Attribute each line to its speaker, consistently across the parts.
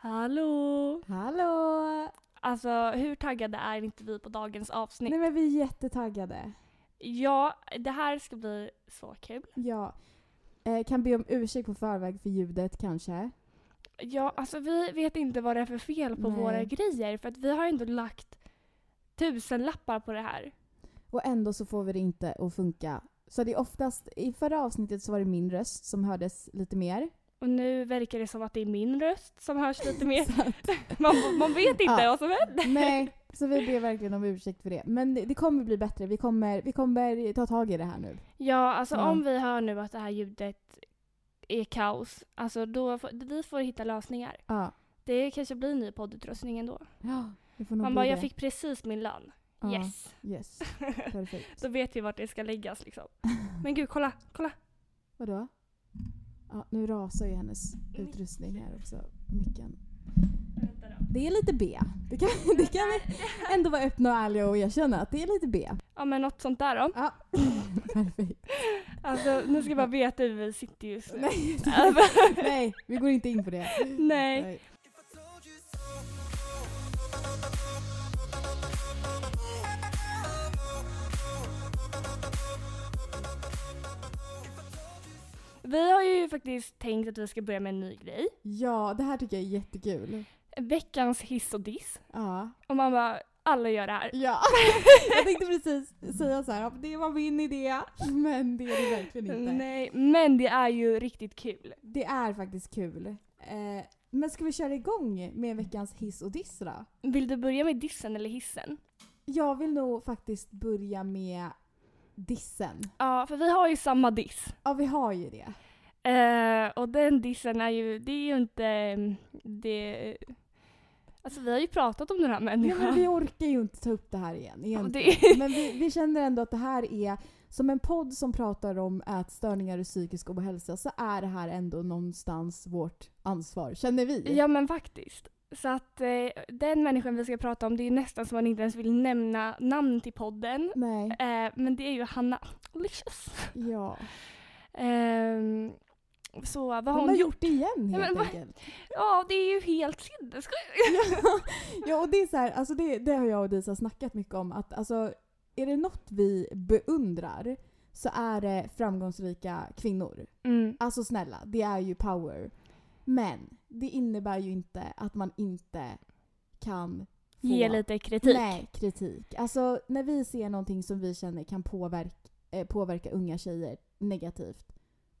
Speaker 1: Hallå!
Speaker 2: Hallå!
Speaker 1: Alltså hur taggade är inte vi på dagens avsnitt?
Speaker 2: Nej men vi är jättetaggade.
Speaker 1: Ja, det här ska bli så kul.
Speaker 2: Ja. Eh, kan be om ursäkt på förväg för ljudet kanske.
Speaker 1: Ja, alltså vi vet inte vad det är för fel på
Speaker 2: Nej.
Speaker 1: våra grejer för att vi har ändå lagt tusen lappar på det här.
Speaker 2: Och ändå så får vi det inte att funka. Så det är oftast, i förra avsnittet så var det min röst som hördes lite mer.
Speaker 1: Och nu verkar det som att det är min röst som hörs lite mer. man, man vet inte
Speaker 2: Ja.
Speaker 1: vad som händer.
Speaker 2: Nej, så vi ber verkligen om ursäkt för det. Men det, det kommer bli bättre. Vi kommer, vi kommer ta tag i det här nu.
Speaker 1: Ja, alltså
Speaker 2: Ja.
Speaker 1: om vi hör nu att det här ljudet är kaos, alltså då får, vi får hitta lösningar.
Speaker 2: Ja.
Speaker 1: Det kanske blir en ny poddutrustning ändå.
Speaker 2: Ja, det får nog
Speaker 1: Man
Speaker 2: bli
Speaker 1: bara,
Speaker 2: det.
Speaker 1: jag fick precis min lön.
Speaker 2: Ja.
Speaker 1: Yes.
Speaker 2: Yes, perfekt.
Speaker 1: Då vet vi vart det ska läggas liksom. Men gud, kolla, kolla.
Speaker 2: Vadå? Ja, nu rasar ju hennes utrustning här också. Micken.
Speaker 1: Vänta då.
Speaker 2: Det är lite B. Det kan, det kan vi ändå vara öppna och ärliga och erkänna att det är lite B.
Speaker 1: Ja men något sånt där då.
Speaker 2: Ja, perfekt.
Speaker 1: Alltså nu ska vi bara veta hur vi sitter just nu.
Speaker 2: Nej,
Speaker 1: Alltså,
Speaker 2: nej, vi går inte in på det.
Speaker 1: Nej. Vi har ju faktiskt tänkt att vi ska börja med en ny grej.
Speaker 2: Ja, det här tycker jag är jättekul.
Speaker 1: Veckans hiss och diss.
Speaker 2: Ja.
Speaker 1: Och man bara, alla gör det här.
Speaker 2: ja. Jag tänkte precis säga så här, ja, det var min idé. Men det är det verkligen inte.
Speaker 1: Nej, men det är ju riktigt kul.
Speaker 2: Det är faktiskt kul. Eh, men ska vi köra igång med veckans hiss och diss då?
Speaker 1: Vill du börja med dissen eller hissen?
Speaker 2: Jag vill nog faktiskt börja med dissen.
Speaker 1: Ja, för vi har ju samma diss.
Speaker 2: Ja, vi har ju det.
Speaker 1: Eh, och den dissen är ju, det är ju inte, mm, det... Alltså vi har ju pratat om den här
Speaker 2: Nej, men
Speaker 1: människan.
Speaker 2: vi orkar ju inte ta upp det här igen.
Speaker 1: Och
Speaker 2: egentligen.
Speaker 1: det,
Speaker 2: Men vi, vi känner ändå att det här är, som en podd som pratar om ätstörningar och psykisk ohälsa, så är det här ändå någonstans vårt ansvar, känner vi.
Speaker 1: ja men faktiskt. Så att eh, den människan vi ska prata om, det är ju nästan som man inte ens vill nämna namn till podden.
Speaker 2: Nej.
Speaker 1: Eh, men det är ju Hanna Licious.
Speaker 2: Ja.
Speaker 1: Ehm, så vad har
Speaker 2: Hon
Speaker 1: hon,
Speaker 2: har
Speaker 1: gjort?
Speaker 2: gjort det igen
Speaker 1: Ja, men
Speaker 2: helt
Speaker 1: vad-
Speaker 2: enkelt.
Speaker 1: Ja, det är ju helt sinnessjukt.
Speaker 2: Ja, och det är så här, alltså det, det har jag och Disa snackat mycket om. Att alltså, är det något vi beundrar så är det framgångsrika kvinnor.
Speaker 1: Mm.
Speaker 2: Alltså snälla, det är ju power. Men det innebär ju inte att man inte kan få
Speaker 1: Ge lite kritik.
Speaker 2: Nej, kritik. Alltså när vi ser någonting som vi känner kan påverka, eh, påverka unga tjejer negativt,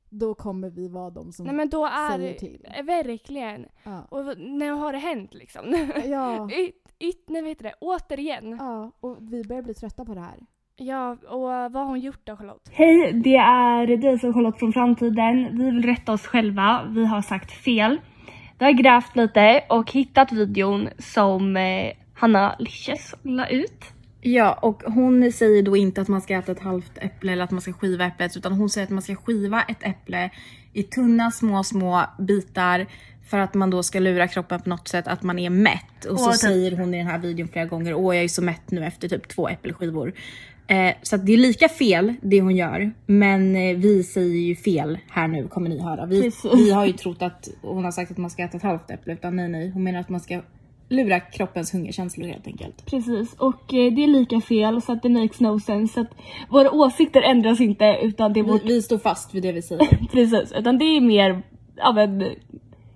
Speaker 2: då kommer vi vara de som...
Speaker 1: Nej, men då är
Speaker 2: Säger till.
Speaker 1: eh, Verkligen.
Speaker 2: ja.
Speaker 1: Och när har det hänt liksom?
Speaker 2: Ja,
Speaker 1: It, it, nej, vad heter det? Återigen.
Speaker 2: ja, och vi börjar bli trötta på det här.
Speaker 1: Ja, och vad har hon gjort då Charlotte?
Speaker 3: Hej, det är Daisy och Charlotte från framtiden. Vi vill rätta oss själva, vi har sagt fel. Vi har grävt lite och hittat videon som eh, Hanna Lisches la ut.
Speaker 4: Ja, och hon säger då inte att man ska äta ett halvt äpple eller att man ska skiva äpplet utan hon säger att man ska skiva ett äpple i tunna små, små bitar för att man då ska lura kroppen på något sätt att man är mätt. Och så
Speaker 3: Och typ-
Speaker 4: säger hon i den här videon flera gånger åh jag är så mätt nu efter typ två äppelskivor. Eh, så att det är lika fel det hon gör men eh, vi säger ju fel här nu kommer ni höra. Vi,
Speaker 3: Precis.
Speaker 4: vi har ju trott att hon har sagt att man ska äta ett halvt äpple utan nej nej hon menar att man ska lura kroppens hungerkänslor helt enkelt.
Speaker 3: Precis, och eh, det är lika fel så att det makes no sense. Så att våra åsikter ändras inte utan det är
Speaker 4: Vi,
Speaker 3: vårt...
Speaker 4: vi står fast vid det vi säger.
Speaker 3: Mm. Precis, utan det är mer ja, men,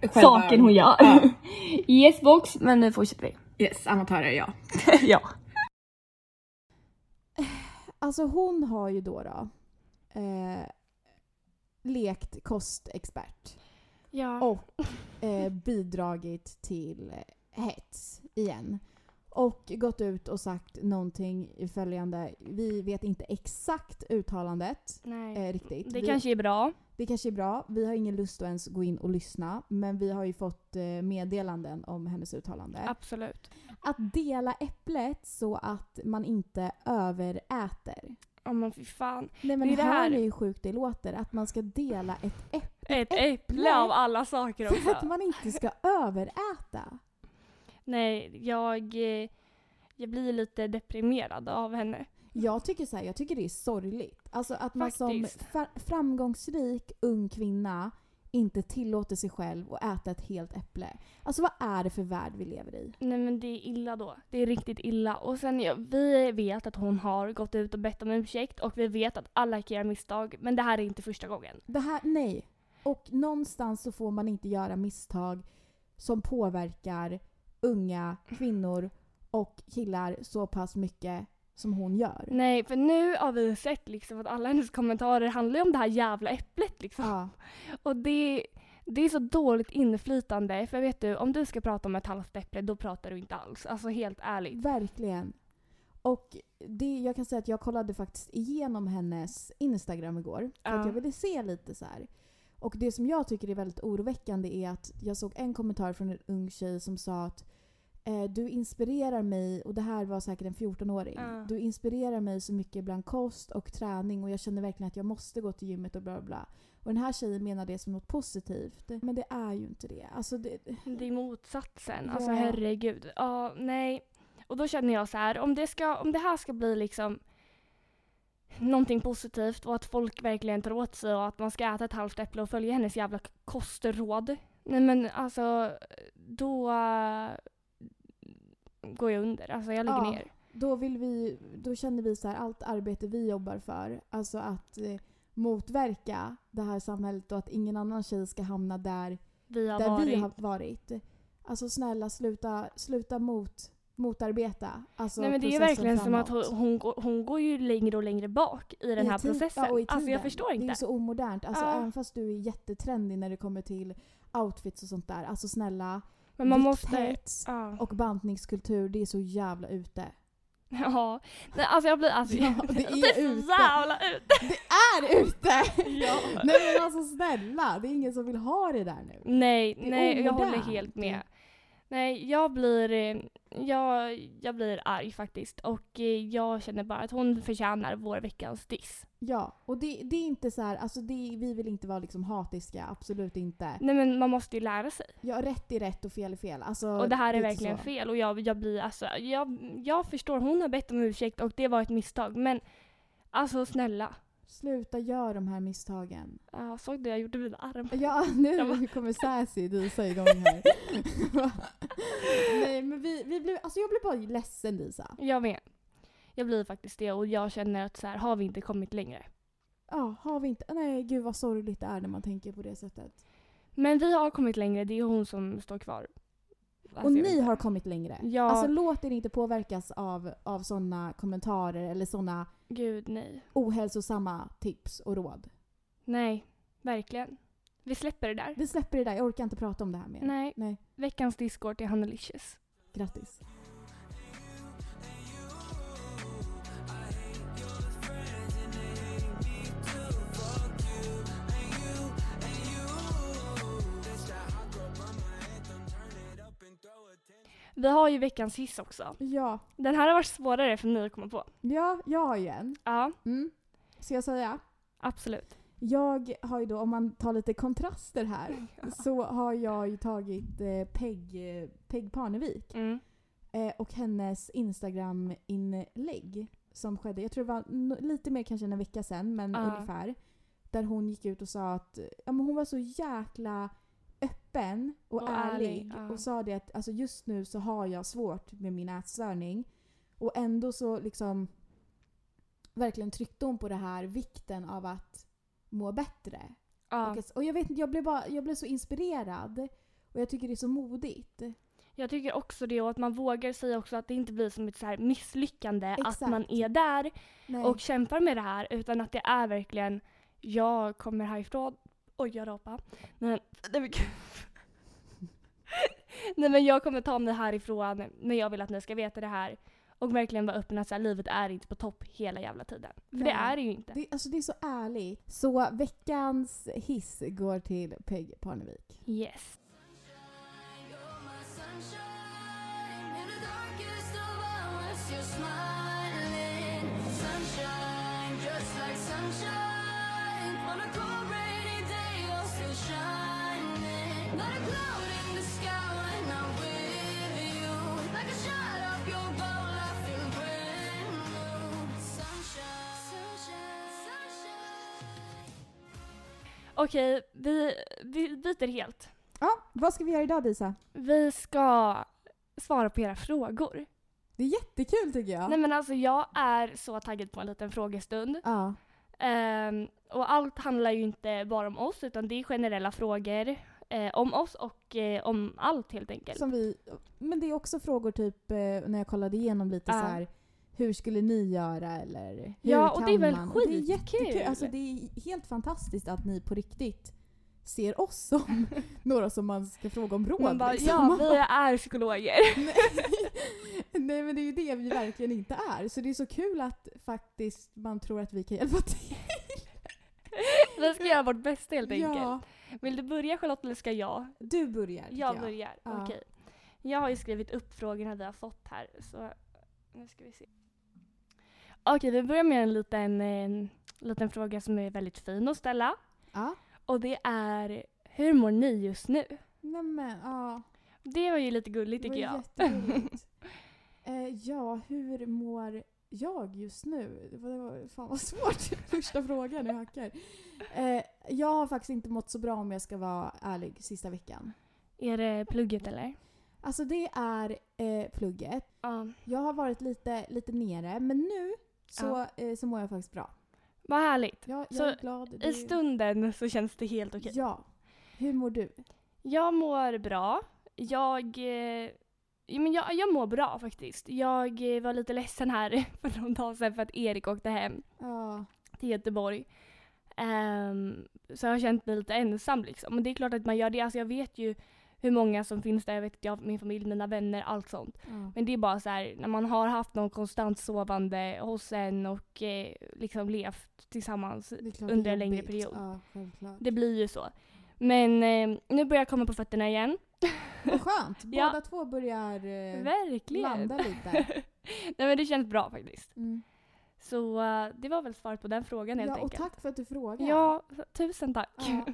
Speaker 4: Själva-
Speaker 3: saken hon gör.
Speaker 4: Ja.
Speaker 3: yes box, men nu fortsätter vi.
Speaker 4: Yes, amatörer ja.
Speaker 3: ja.
Speaker 2: Alltså hon har ju då, då eh, lekt kostexpert
Speaker 1: Ja.
Speaker 2: och eh, bidragit till eh, hets igen. Och gått ut och sagt någonting i följande, vi vet inte exakt uttalandet
Speaker 1: Nej.
Speaker 2: eh, riktigt.
Speaker 1: det
Speaker 2: vi,
Speaker 1: kanske är bra.
Speaker 2: det kanske är bra, vi har ingen lust att ens gå in och lyssna men vi har ju fått eh, meddelanden om hennes uttalande.
Speaker 1: Absolut.
Speaker 2: Att dela äpplet så att man inte överäter.
Speaker 1: Ja men fy fan.
Speaker 2: Nej men
Speaker 1: Det är det
Speaker 2: hör
Speaker 1: här-
Speaker 2: ni hur sjukt det låter? Att man ska dela ett äpple
Speaker 1: Ett äpple av alla saker
Speaker 2: för att
Speaker 1: också.
Speaker 2: man inte ska överäta.
Speaker 1: Nej, jag, eh, jag blir lite deprimerad av henne.
Speaker 2: Jag tycker så här, jag tycker det är sorgligt. Alltså att man
Speaker 1: Faktiskt.
Speaker 2: som fa- framgångsrik ung kvinna inte tillåter sig själv att äta ett helt äpple. Alltså vad är det för värld vi lever i?
Speaker 1: Nej men det är illa då. Det är riktigt illa. Och sen, ja, vi vet att hon har gått ut och bett om ursäkt och vi vet att alla kan göra misstag men det här är inte första gången.
Speaker 2: Det här, nej. Och någonstans så får man inte göra misstag som påverkar unga kvinnor och killar så pass mycket som hon gör.
Speaker 1: Nej, för nu har vi sett liksom att alla hennes kommentarer handlar ju om det här jävla äpplet liksom.
Speaker 2: Ja,
Speaker 1: Och det, det är så dåligt inflytande för vet du, om du ska prata om ett halvt äpple då pratar du inte alls. Alltså helt ärligt.
Speaker 2: verkligen. Och det, jag kan säga att jag kollade faktiskt igenom hennes Instagram igår. För att
Speaker 1: Ja.
Speaker 2: jag ville se lite så här. Och det som jag tycker är väldigt oroväckande är att jag såg en kommentar från en ung tjej som sa att eh, du inspirerar mig, och det här var säkert en 14-åring.
Speaker 1: Ja.
Speaker 2: Du inspirerar mig så mycket bland kost och träning och jag känner verkligen att jag måste gå till gymmet och bla bla, bla. Och den här tjejen menar det som något positivt. Men det är ju inte det. Alltså det
Speaker 1: Det är motsatsen. Alltså
Speaker 2: Ja.
Speaker 1: herregud. Ja, nej. Och då känner jag så här, om det, ska, om det här ska bli liksom någonting positivt och att folk verkligen tar åt sig och att man ska äta ett halvt äpple och följa hennes jävla kostråd. Nej men alltså, då eh, går jag under. Alltså jag lägger
Speaker 2: Ja.
Speaker 1: ner.
Speaker 2: då, vill vi, då känner vi så här, allt arbete vi jobbar för, alltså att eh, motverka det här samhället och att ingen annan tjej ska hamna där,
Speaker 1: Vi har
Speaker 2: där
Speaker 1: varit.
Speaker 2: vi har varit. Alltså snälla sluta, sluta mot, motarbeta. Alltså,
Speaker 1: Nej men det är ju
Speaker 2: processen
Speaker 1: verkligen som att hon,
Speaker 2: framåt.
Speaker 1: hon, går, hon går ju längre och längre bak i den
Speaker 2: I
Speaker 1: här
Speaker 2: tid-
Speaker 1: processen.
Speaker 2: ja, och i
Speaker 1: alltså jag
Speaker 2: tiden.
Speaker 1: förstår
Speaker 2: Det är
Speaker 1: inte.
Speaker 2: ju så omodernt. Alltså,
Speaker 1: Ja.
Speaker 2: Även fast du är jättetrendig när det kommer till outfits och sånt där. Alltså snälla,
Speaker 1: Men man måste...
Speaker 2: vikthets
Speaker 1: Ja.
Speaker 2: och bantningskultur, det är så jävla ute.
Speaker 1: ja. Nej, alltså jag blir... Alltså,
Speaker 2: Ja, det är
Speaker 1: så
Speaker 2: ute.
Speaker 1: jävla ute!
Speaker 2: Är ute!
Speaker 1: Ja.
Speaker 2: Nej men alltså snälla, det är ingen som vill ha det där nu.
Speaker 1: Nej,
Speaker 2: Det är
Speaker 1: nej jag håller
Speaker 2: omodernt.
Speaker 1: helt med. Nej, jag blir, eh, jag, jag blir arg faktiskt och eh, jag känner bara att hon förtjänar vår veckans diss.
Speaker 2: Ja, och det, det är inte så här, alltså det, vi vill inte vara liksom hatiska, absolut inte.
Speaker 1: Nej men man måste ju lära sig.
Speaker 2: Ja, rätt är rätt och fel är fel. Alltså,
Speaker 1: Och det här är
Speaker 2: lite
Speaker 1: verkligen
Speaker 2: så.
Speaker 1: fel och jag, jag blir alltså, jag, jag förstår, hon har bett om ursäkt och det var ett misstag men alltså snälla.
Speaker 2: Sluta göra de här misstagen.
Speaker 1: Ja, såg du jag gjorde mina armar?
Speaker 2: Ja,
Speaker 1: Jag bara-
Speaker 2: nu kommer Sassy Disa igång här. Nej men vi, vi blev, alltså jag blev bara ledsen Disa.
Speaker 1: Jag med. Jag blir faktiskt det och jag känner att så här har vi inte kommit längre.
Speaker 2: Ja, har vi inte, nej gud vad sorgligt det är när man tänker på det sättet.
Speaker 1: Men vi har kommit längre, det är hon som står kvar. Alltså,
Speaker 2: och
Speaker 1: jag
Speaker 2: ni
Speaker 1: vet-
Speaker 2: har kommit längre.
Speaker 1: Ja,
Speaker 2: Alltså låt er inte påverkas av, av sådana kommentarer eller sådana
Speaker 1: gud nej.
Speaker 2: ohälsosamma tips och råd.
Speaker 1: Nej, verkligen. Vi släpper det där.
Speaker 2: Vi släpper det där, jag orkar inte prata om det här mer.
Speaker 1: Nej.
Speaker 2: Nej.
Speaker 1: Veckans Discord är Hannelicious.
Speaker 2: Grattis.
Speaker 1: Vi har ju veckans hiss också.
Speaker 2: Ja,
Speaker 1: Den här har varit svårare för mig att komma på.
Speaker 2: ja jag har ju en.
Speaker 1: Ja,
Speaker 2: Mm. Ska jag säga?
Speaker 1: absolut.
Speaker 2: Jag har ju då, om man tar lite kontraster här, så har jag ju tagit eh, Peg, eh, Peg Parnevik
Speaker 1: Mm.
Speaker 2: eh, och hennes Instagram-inlägg som skedde, jag tror det var no- lite mer kanske än en vecka sedan, men
Speaker 1: Ja.
Speaker 2: ungefär. Där hon gick ut och sa att ja, men hon var så jäkla öppen och,
Speaker 1: Och ärlig,
Speaker 2: ärlig,
Speaker 1: ja.
Speaker 2: och sa det att alltså, just nu så har jag svårt med min ätstörning och ändå så liksom verkligen tryckte hon på det här vikten av att må bättre.
Speaker 1: Ja,
Speaker 2: Och, och jag vet inte, jag blev, bara, jag blev så inspirerad och jag tycker det är så modigt.
Speaker 1: jag tycker också det och att man vågar säga också att det inte blir som ett så här misslyckande att
Speaker 2: Exakt.
Speaker 1: man är där
Speaker 2: Nej.
Speaker 1: och kämpar med det här utan att det är verkligen jag kommer härifrån. Oj, jag rapade. Men, nej, men, gud. nej men jag kommer ta mig härifrån men jag vill att ni ska veta det här. Och verkligen vara öppen att så här, livet är inte på topp hela jävla tiden. För det
Speaker 2: Nej.
Speaker 1: är det ju inte.
Speaker 2: Det, alltså det är så ärligt. Så veckans hiss går till Peg Parnevik.
Speaker 1: Yes. Okej, vi, vi byter helt.
Speaker 2: Ja, vad ska vi göra idag Disa?
Speaker 1: Vi ska svara på era frågor.
Speaker 2: Det är jättekul tycker jag.
Speaker 1: Nej men alltså jag är så taggad på en liten frågestund.
Speaker 2: Ja.
Speaker 1: Ehm, och allt handlar ju inte bara om oss utan det är generella frågor eh, om oss och eh, om allt helt enkelt.
Speaker 2: Som vi, men det är också frågor typ eh, när jag kollade igenom lite
Speaker 1: Ja.
Speaker 2: så här. Hur skulle ni göra eller hur
Speaker 1: Ja, och
Speaker 2: kan
Speaker 1: det är väl
Speaker 2: man? Och Det är
Speaker 1: skitkul.
Speaker 2: jättekul. Alltså, det är helt fantastiskt att ni på riktigt ser oss som några som man ska fråga om råd.
Speaker 1: Man bara,
Speaker 2: liksom.
Speaker 1: ja vi är psykologer.
Speaker 2: Nej men det är ju det vi verkligen inte är. Så det är så kul att faktiskt man tror att vi kan hjälpa till.
Speaker 1: vi ska göra vårt bästa helt enkelt.
Speaker 2: Ja,
Speaker 1: Vill du börja Charlotte eller ska jag?
Speaker 2: du börjar. tycker
Speaker 1: Jag börjar,
Speaker 2: Ja.
Speaker 1: okej. Jag har ju skrivit upp frågorna vi har fått här så nu ska vi se. Okej, vi börjar med en liten, en liten fråga som är väldigt fin att ställa.
Speaker 2: Ja.
Speaker 1: Och det är, hur mår ni just nu?
Speaker 2: Nej men ja.
Speaker 1: Det var ju lite
Speaker 2: Det
Speaker 1: gulligt
Speaker 2: var
Speaker 1: tycker jag.
Speaker 2: jättegulligt. eh, ja, hur mår jag just nu? Det var, det var fan vad svårt. Första frågan, jag hackar. Eh, jag har faktiskt inte mått så bra om jag ska vara ärlig sista veckan.
Speaker 1: Är det plugget eller?
Speaker 2: Alltså det är eh, plugget.
Speaker 1: Ja.
Speaker 2: Jag har varit lite, lite nere men nu så, eh, så mår jag faktiskt bra.
Speaker 1: Vad härligt.
Speaker 2: Jag, jag
Speaker 1: Så
Speaker 2: är glad. det-
Speaker 1: I stunden så känns det helt okej.
Speaker 2: Ja. Hur mår du?
Speaker 1: Jag mår bra. Jag, eh, ja, men jag, jag mår bra faktiskt. Jag eh, var lite ledsen här för någon dag sedan för att Erik åkte hem
Speaker 2: Ja.
Speaker 1: till Göteborg. Ehm, så jag har känt mig lite ensam liksom. Men det är klart att man gör det. Alltså jag vet ju hur många som finns där. Jag vet att jag har min familj, mina vänner, allt sånt.
Speaker 2: ja.
Speaker 1: Men det är bara så här, när man har haft någon konstant sovande hos en och eh, liksom levt tillsammans.
Speaker 2: Det är klart det är
Speaker 1: under en längre
Speaker 2: jobbigt.
Speaker 1: period.
Speaker 2: Ja, självklart.
Speaker 1: Det blir ju så. Men eh, nu börjar jag komma på fötterna igen.
Speaker 2: Vad skönt! Båda
Speaker 1: Ja.
Speaker 2: två börjar eh,
Speaker 1: Verkligen.
Speaker 2: landa lite.
Speaker 1: Nej men det känns bra faktiskt.
Speaker 2: Mm.
Speaker 1: Så eh, det var väl svaret på den frågan helt
Speaker 2: Ja, och
Speaker 1: enkelt.
Speaker 2: tack för att du frågar.
Speaker 1: Ja, tusen tack.
Speaker 2: Ja.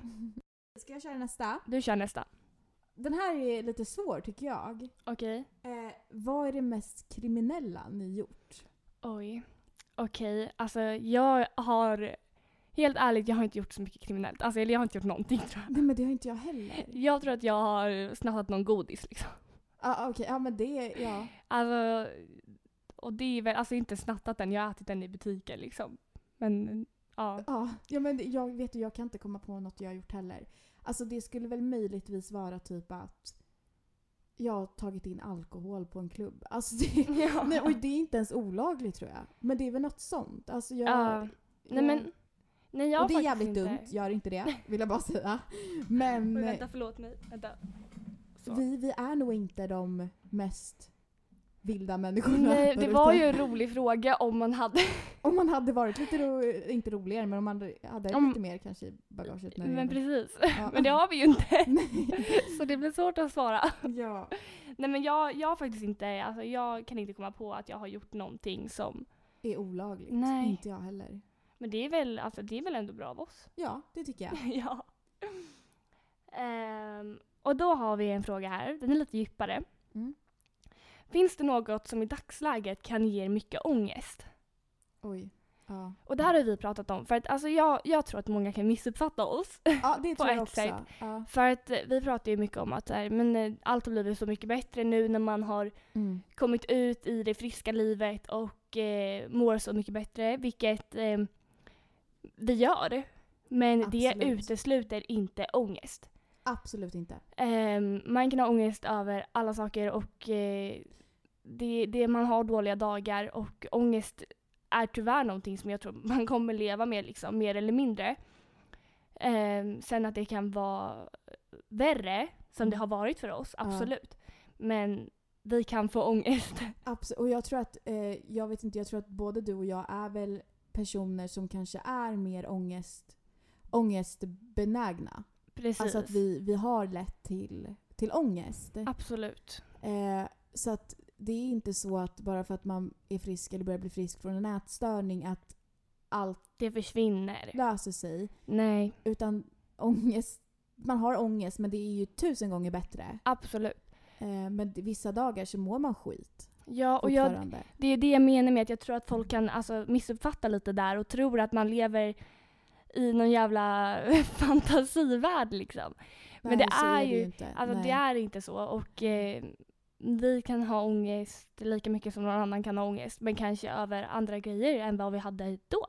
Speaker 2: Ska jag köra nästa?
Speaker 1: Du kör nästa.
Speaker 2: Den här är lite svår tycker jag.
Speaker 1: Okej.
Speaker 2: Eh, vad är det mest kriminella ni gjort?
Speaker 1: Oj. Okej, alltså jag har... Helt ärligt, jag har inte gjort så mycket kriminellt. Alltså eller jag har inte gjort någonting tror jag.
Speaker 2: Nej men det har inte jag heller. Ja
Speaker 1: Jag tror att jag har snattat någon godis liksom.
Speaker 2: ah, okej, ja men det, ja.
Speaker 1: Alltså, och det är väl, alltså inte snattat den, jag har ätit den i butiken liksom. Men ja.
Speaker 2: Ja, ja men det- jag vet ju, jag kan inte komma på något jag har gjort heller. Alltså det skulle väl möjligtvis vara typ att jag har tagit in alkohol på en klubb. Alltså det,
Speaker 1: ja.
Speaker 2: nej, och det är inte ens olagligt tror jag. Men det är väl något sånt. Alltså jag,
Speaker 1: Ja. Nej
Speaker 2: jag-
Speaker 1: men, nej jag har
Speaker 2: och det är
Speaker 1: faktiskt
Speaker 2: jävligt
Speaker 1: inte...
Speaker 2: dumt, gör inte det vill jag bara säga. Men
Speaker 1: Oj,
Speaker 2: eh,
Speaker 1: vänta, förlåt mig. Vänta. Så.
Speaker 2: vi, vi är nog inte de mest vilda människorna.
Speaker 1: Nej,
Speaker 2: där
Speaker 1: det
Speaker 2: ute.
Speaker 1: var ju en rolig fråga om man hade,
Speaker 2: Om man hade varit lite, ro, inte roligare, men om man hade
Speaker 1: Om-
Speaker 2: lite mer kanske i bagaget. När det
Speaker 1: men
Speaker 2: gäller-
Speaker 1: precis.
Speaker 2: Ja.
Speaker 1: Men det har vi ju inte.
Speaker 2: Nej.
Speaker 1: Så det blir svårt att svara.
Speaker 2: ja.
Speaker 1: Nej men jag, jag har faktiskt inte, alltså jag kan inte komma på att jag har gjort någonting som,
Speaker 2: är olagligt.
Speaker 1: Nej.
Speaker 2: Inte jag heller.
Speaker 1: men det är väl, alltså det är väl ändå bra av oss.
Speaker 2: Ja, det tycker jag.
Speaker 1: ja. Ehm, och då har vi en fråga här, den är lite djupare.
Speaker 2: Mm.
Speaker 1: Finns det något som i dagsläget kan ge er mycket ångest?
Speaker 2: Oj. Ja,
Speaker 1: Och det här har vi pratat om för att alltså jag, jag tror att många kan missuppfatta oss.
Speaker 2: ja det
Speaker 1: På
Speaker 2: tror jag
Speaker 1: ett
Speaker 2: också.
Speaker 1: sätt.
Speaker 2: Ja.
Speaker 1: För att eh, vi pratar ju mycket om att så här, men eh, allt har blivit så mycket bättre nu när man har
Speaker 2: Mm.
Speaker 1: kommit ut i det friska livet och eh, mår så mycket bättre, vilket eh, vi gör. Men det
Speaker 2: Absolut.
Speaker 1: utesluter inte ångest.
Speaker 2: Absolut inte.
Speaker 1: Ehm, man kan ha ångest över alla saker och eh, det, det man har dåliga dagar och ångest är tyvärr någonting som jag tror man kommer leva med liksom, mer eller mindre. Ehm, sen att det kan vara värre, som det har varit för oss,
Speaker 2: Mm. Ja.
Speaker 1: absolut. Men vi kan få ångest.
Speaker 2: Absolut. Och jag tror att, eh, jag vet inte, jag tror att både du och jag är väl personer som kanske är mer ångest, ångestbenägna.
Speaker 1: Precis.
Speaker 2: Alltså att vi, vi har lätt till, till ångest.
Speaker 1: Absolut.
Speaker 2: Eh, så att det är inte så att bara för att man är frisk eller börjar bli frisk från en ätstörning att allt
Speaker 1: Det försvinner.
Speaker 2: löser sig.
Speaker 1: Nej,
Speaker 2: Utan ångest, man har ångest men det är ju tusen gånger bättre.
Speaker 1: absolut.
Speaker 2: Eh, men det- vissa dagar så mår man skit
Speaker 1: Ja, och jag,
Speaker 2: fortfarande. Jag,
Speaker 1: det är det jag menar med att jag tror att folk kan alltså, missuppfatta lite där och tror att man lever i någon jävla fantasivärld liksom. Men det
Speaker 2: så
Speaker 1: är
Speaker 2: det
Speaker 1: ju-
Speaker 2: inte.
Speaker 1: Alltså
Speaker 2: Nej.
Speaker 1: det är inte så och eh, vi kan ha ångest lika mycket som någon annan kan ha ångest men kanske över andra grejer än vad vi hade då.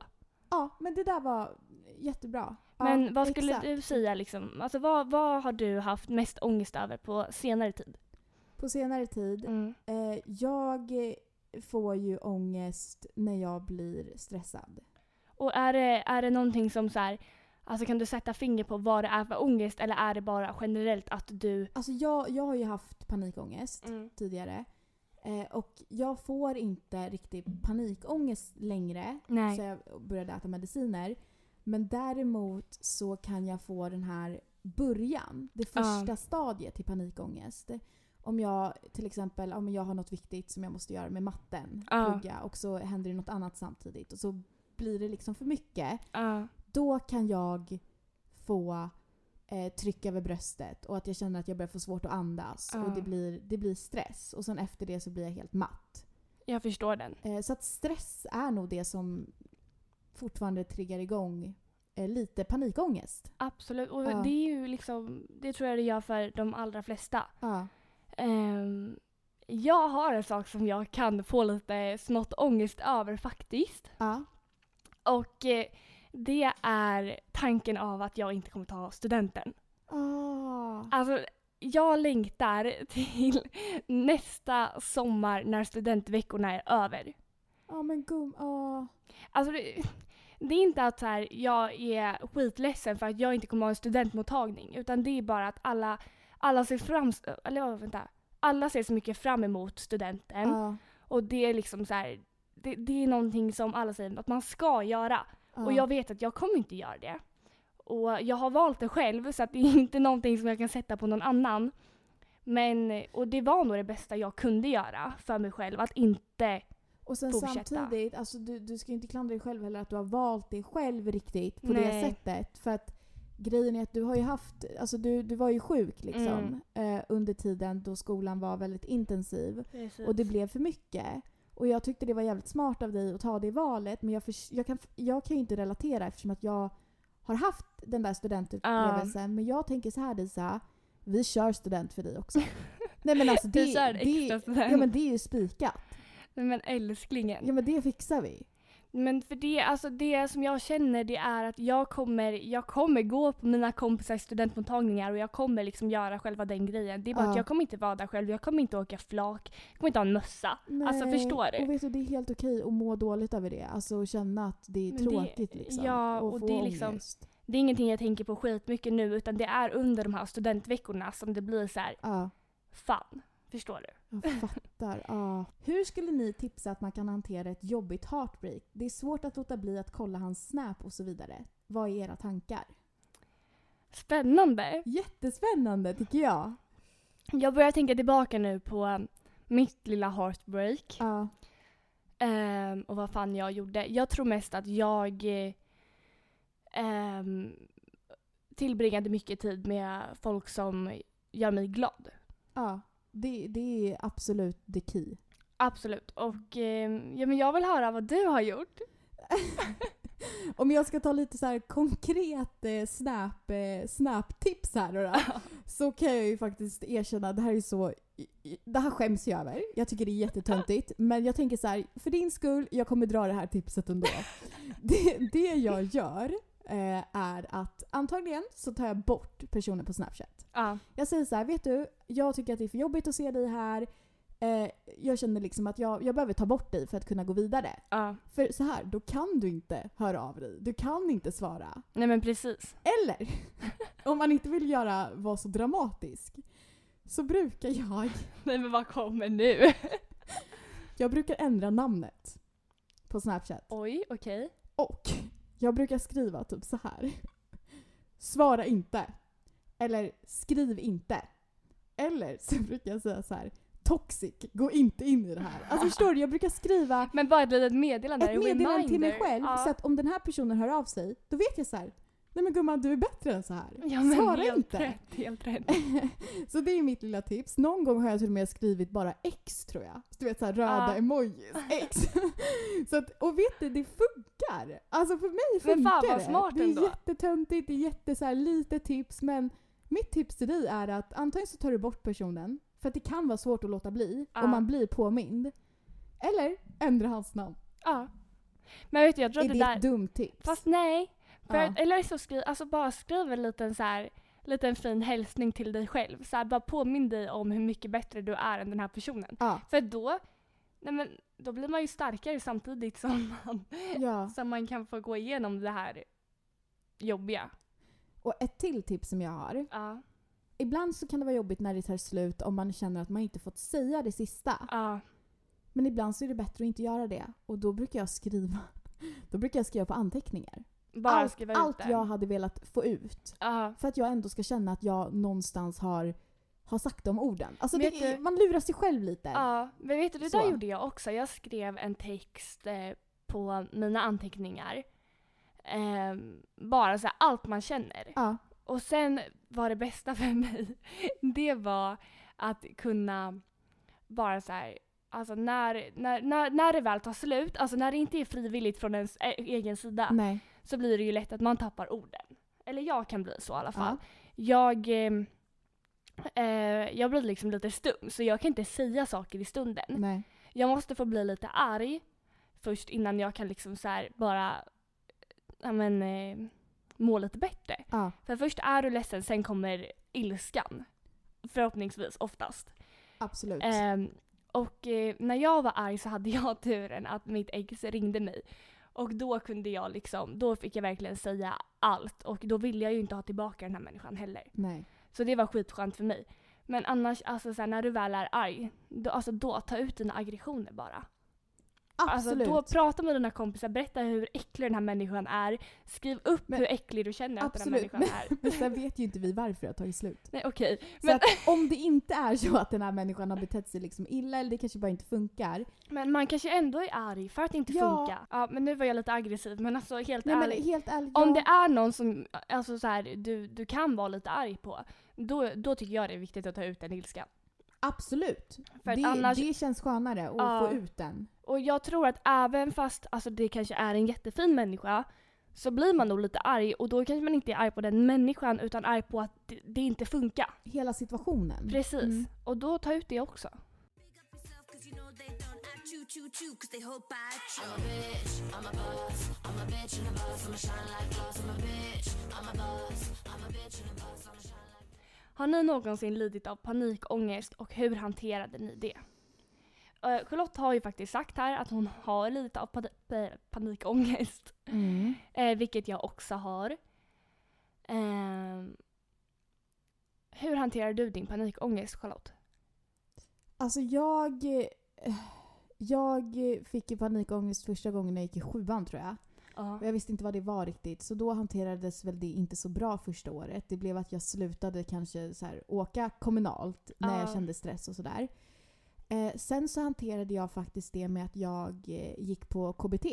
Speaker 2: Ja, men det där var jättebra. Ja,
Speaker 1: Men vad skulle
Speaker 2: exakt.
Speaker 1: du säga liksom, alltså vad, vad har du haft mest ångest över på senare tid?
Speaker 2: På senare tid,
Speaker 1: Mm.
Speaker 2: eh, jag eh, får ju ångest när jag blir stressad.
Speaker 1: Och är det, är det någonting som så här, alltså kan du sätta finger på vad det är för ångest eller är det bara generellt att du
Speaker 2: Alltså jag, jag har ju haft panikångest
Speaker 1: Mm.
Speaker 2: tidigare. Eh, och jag får inte riktigt panikångest längre.
Speaker 1: Nej.
Speaker 2: Så jag började äta mediciner. Men däremot så kan jag få den här början, det
Speaker 1: Ja.
Speaker 2: första stadiet till panikångest. Om jag till exempel om jag har något viktigt som jag måste göra med matten,
Speaker 1: Ja.
Speaker 2: plugga, och så händer det något annat samtidigt och så blir det liksom för mycket.
Speaker 1: Ja.
Speaker 2: Då kan jag få eh, tryck över bröstet och att jag känner att jag börjar få svårt att andas
Speaker 1: Ja.
Speaker 2: och det blir, det blir stress. Och sen efter det så blir jag helt matt.
Speaker 1: jag förstår den.
Speaker 2: Eh, Så att stress är nog det som fortfarande triggar igång eh, lite panikångest.
Speaker 1: Absolut, och
Speaker 2: Ja.
Speaker 1: det är ju liksom, det tror jag det gör för de allra flesta.
Speaker 2: Ja.
Speaker 1: Ehm, jag har en sak som jag kan få lite smått ångest över faktiskt.
Speaker 2: Ja.
Speaker 1: Och eh, det är tanken av att jag inte kommer ta studenten.
Speaker 2: Ah.
Speaker 1: Alltså, jag längtar till nästa sommar när studentveckorna är över.
Speaker 2: Ja men gum... Ah.
Speaker 1: Alltså, det, det är inte att så här, jag är skitledsen för att jag inte kommer ha en studentmottagning. Utan det är bara att alla, alla ser fram... Eller ja, vänta. Alla ser så mycket fram emot studenten.
Speaker 2: Ja.
Speaker 1: Och det är liksom så här, det, det är någonting som alla säger att man ska göra.
Speaker 2: Ja.
Speaker 1: Och jag vet att jag kommer inte göra det. Och jag har valt det själv så att det är inte någonting som jag kan sätta på någon annan. Men, och det var nog det bästa jag kunde göra för mig själv att inte,
Speaker 2: Och sen
Speaker 1: fortsätta.
Speaker 2: samtidigt, alltså, du, du ska ju inte klandra dig själv heller att du har valt dig själv riktigt på
Speaker 1: Nej.
Speaker 2: det sättet. För att grejen är att du har ju haft, alltså du, du var ju sjuk liksom
Speaker 1: Mm.
Speaker 2: eh, under tiden då skolan var väldigt intensiv. Och det blev för mycket. Och jag tyckte det var jävligt smart av dig att ta det valet men jag, förs- jag, kan, f- jag kan ju inte relatera eftersom att jag har haft den där studentupplevelsen. Men jag tänker så här Disa, vi kör student för dig också. Nej men alltså det,
Speaker 1: Vi kör extra
Speaker 2: det,
Speaker 1: student.
Speaker 2: ja, men det är ju spikat.
Speaker 1: Nej, men älsklingen.
Speaker 2: Ja men det fixar vi.
Speaker 1: Men för det, alltså det som jag känner det är att jag kommer, jag kommer gå på mina kompisars studentmottagningar och jag kommer liksom göra själva den grejen. Det är bara
Speaker 2: Ja.
Speaker 1: att jag kommer inte vara där själv, jag kommer inte åka flak, jag kommer inte ha en mössa. Alltså
Speaker 2: Nej,
Speaker 1: förstår du?
Speaker 2: Och vet du, det är helt okej att må dåligt över det. Alltså att känna att det är
Speaker 1: Men det-
Speaker 2: tråkigt liksom.
Speaker 1: ja, och
Speaker 2: få
Speaker 1: det är liksom-
Speaker 2: ångest.
Speaker 1: Det är ingenting jag tänker på skitmycket nu utan det är under de här studentveckorna som det blir så här,
Speaker 2: Ja.
Speaker 1: fan, förstår du?
Speaker 2: Jag fattar. ja. Hur skulle ni tipsa att man kan hantera ett jobbigt heartbreak? Det är svårt att låta bli att kolla hans snap och så vidare. Vad är era tankar?
Speaker 1: Spännande!
Speaker 2: Jättespännande tycker jag.
Speaker 1: Jag börjar tänka tillbaka nu på um, mitt lilla heartbreak
Speaker 2: Ja.
Speaker 1: ehm, och vad fan jag gjorde. Jag tror mest att jag eh, ehm, tillbringade mycket tid med folk som gör mig glad.
Speaker 2: ja. Det, det är absolut the key.
Speaker 1: Absolut. Och ehm, ja, men jag vill höra vad du har gjort.
Speaker 2: Om jag ska ta lite så här konkret eh, snap, eh, snap-tips här då, då så kan jag ju faktiskt erkänna det här är så i- i- det här skäms jag över. Jag tycker det är jättetöntigt. Men jag tänker så här, för din skull, jag kommer dra det här tipset ändå. Det, det jag gör eh, är att antagligen så tar jag bort personen på Snapchat.
Speaker 1: Ja.
Speaker 2: Jag säger så här, vet du, jag tycker att det är för jobbigt att se dig här. Eh, jag känner liksom att jag, jag behöver ta bort dig för att kunna gå vidare.
Speaker 1: ja.
Speaker 2: För så här, då kan du inte höra av dig. Du kan inte svara.
Speaker 1: Nej men precis.
Speaker 2: Eller, om man inte vill göra vara så dramatisk, så brukar jag,
Speaker 1: Nej men vad kommer nu?
Speaker 2: jag brukar ändra namnet på Snapchat.
Speaker 1: Oj, okej.
Speaker 2: Och jag brukar skriva typ så här. Svara inte. Eller skriv inte. Eller så brukar jag säga så här. Toxic, gå inte in i det här. Alltså förstår du, jag brukar skriva
Speaker 1: Men bara ett litet meddelande.
Speaker 2: ett
Speaker 1: en
Speaker 2: meddelande till mig
Speaker 1: reminder.
Speaker 2: själv
Speaker 1: Ja.
Speaker 2: så att om den här personen hör av sig, då vet jag så här. Nej men gumman, du är bättre än så här.
Speaker 1: ja, men
Speaker 2: Svara
Speaker 1: helt
Speaker 2: inte.
Speaker 1: Rätt, helt rätt.
Speaker 2: så det är mitt lilla tips. Någon gång har jag till och med skrivit bara X tror jag. Du vet så här röda
Speaker 1: Ja.
Speaker 2: emojis. X. så att, och vet du, det funkar. funkar. Alltså för mig funkar
Speaker 1: Men fan vad
Speaker 2: det.
Speaker 1: smart
Speaker 2: det är
Speaker 1: ändå.
Speaker 2: jättetöntigt, det är jätte, så här, lite tips men mitt tips till dig är att antingen så tar du bort personen, för att det kan vara svårt att låta bli
Speaker 1: Ja.
Speaker 2: om man blir påmind. Eller ändra hans namn.
Speaker 1: Ja. Men vet du, jag tror
Speaker 2: Är
Speaker 1: att
Speaker 2: det
Speaker 1: det där...
Speaker 2: ett dumt tips?
Speaker 1: Fast nej. För,
Speaker 2: Ja.
Speaker 1: Eller så skriv, alltså bara skriv en liten så här liten fin hälsning till dig själv. Så här, bara påminn dig om hur mycket bättre du är än den här personen.
Speaker 2: Ja.
Speaker 1: För då, nej men, då blir man ju starkare samtidigt som man,
Speaker 2: ja.
Speaker 1: som man kan få gå igenom det här jobbiga.
Speaker 2: Och ett till tips som jag har.
Speaker 1: Ja.
Speaker 2: Ibland så kan det vara jobbigt när det tar slut om man känner att man inte fått säga det sista.
Speaker 1: Ja.
Speaker 2: Men ibland så är det bättre att inte göra det. Och då brukar jag skriva. Då brukar jag skriva på anteckningar.
Speaker 1: Bara
Speaker 2: allt,
Speaker 1: skriva ut
Speaker 2: allt
Speaker 1: den.
Speaker 2: jag hade velat få ut.
Speaker 1: Ja.
Speaker 2: För att jag ändå ska känna att jag någonstans har, har sagt de orden. Alltså
Speaker 1: Vet
Speaker 2: det, är-
Speaker 1: du-
Speaker 2: man lurar sig själv lite.
Speaker 1: Ja, men vet du, det där
Speaker 2: Så.
Speaker 1: gjorde jag också. Jag skrev en text eh, på mina anteckningar. Ehm, bara så här, allt man känner.
Speaker 2: Ja.
Speaker 1: Och sen var det bästa för mig, det var att kunna bara så här, alltså när, när, när, när det väl tar slut, alltså när det inte är frivilligt från ens e- egen sida,
Speaker 2: Nej.
Speaker 1: så blir det ju lätt att man tappar orden. Eller jag kan bli så i alla
Speaker 2: Ja.
Speaker 1: fall. Jag, ehm, eh, jag blir liksom lite stum, så jag kan inte säga saker i stunden.
Speaker 2: Nej.
Speaker 1: Jag måste få bli lite arg först innan jag kan liksom så här bara, ja men, eh, må lite bättre.
Speaker 2: Ja.
Speaker 1: För först är du ledsen, sen kommer ilskan. Förhoppningsvis, oftast.
Speaker 2: Absolut.
Speaker 1: Ehm, och eh, när jag var arg så hade jag turen att mitt ex ringde mig. Och då kunde jag liksom, då fick jag verkligen säga allt. Och då ville jag ju inte ha tillbaka den här människan heller.
Speaker 2: Nej.
Speaker 1: Så det var skitskönt för mig. Men annars, alltså så här, när du väl är arg, då, alltså då, ta ut dina aggressioner bara.
Speaker 2: Absolut.
Speaker 1: Alltså, då prata med dina kompisar, berätta hur äcklig den här människan är. Skriv upp
Speaker 2: Men-
Speaker 1: hur äcklig du känner att den
Speaker 2: Absolut.
Speaker 1: här människan är.
Speaker 2: Men sen vet ju inte vi varför det har tagit slut.
Speaker 1: Nej okej.
Speaker 2: Så
Speaker 1: Men-
Speaker 2: att om det inte är så att den här människan har betett sig liksom illa eller det kanske bara inte funkar.
Speaker 1: Men man kanske ändå är arg för att det inte
Speaker 2: Ja.
Speaker 1: funkar. Ja, men nu var jag lite aggressiv men alltså helt
Speaker 2: Nej, men
Speaker 1: ärligt.
Speaker 2: helt ärligt.
Speaker 1: Om
Speaker 2: ja.
Speaker 1: det är någon som alltså, så här, du, du kan vara lite arg på, då, då tycker jag det är viktigt att ta ut den ilskan.
Speaker 2: Absolut.
Speaker 1: För att
Speaker 2: det,
Speaker 1: annars-
Speaker 2: det känns skönare att
Speaker 1: Ja.
Speaker 2: få ut den.
Speaker 1: Och jag tror att även fast alltså, det kanske är en jättefin människa så blir man nog lite arg och då kanske man inte är arg på den människan utan arg på att det, det inte funkar.
Speaker 2: Hela situationen.
Speaker 1: Precis.
Speaker 2: Mm.
Speaker 1: Och då ta ut det också.
Speaker 5: Big up yourself 'cause you know they don't I choo choo choo 'cause they hope I chew. I'm a bitch, I'm a boss, I'm a bitch and a boss, I'm a shine like glass, I'm a bitch, I'm a boss, I'm a bitch and a boss, I'm a shine like
Speaker 1: Har ni någonsin lidit av panikångest och hur hanterade ni det? Eh, Charlotte har ju faktiskt sagt här att hon har lidit av pan- pa- panikångest,
Speaker 2: Mm.
Speaker 1: eh, vilket jag också har. Ehm, hur hanterar du din panikångest Charlotte?
Speaker 2: Alltså jag... eh, Jag fick ju panikångest första gången jag gick i sjuan tror jag.
Speaker 1: Ja.
Speaker 2: Och jag visste inte vad det var riktigt. Så då hanterades väl det inte så bra första året. Det blev att jag slutade kanske så här, åka kommunalt när jag
Speaker 1: Ja.
Speaker 2: kände stress och sådär. Eh, sen så hanterade jag faktiskt det med att jag eh, gick på KBT.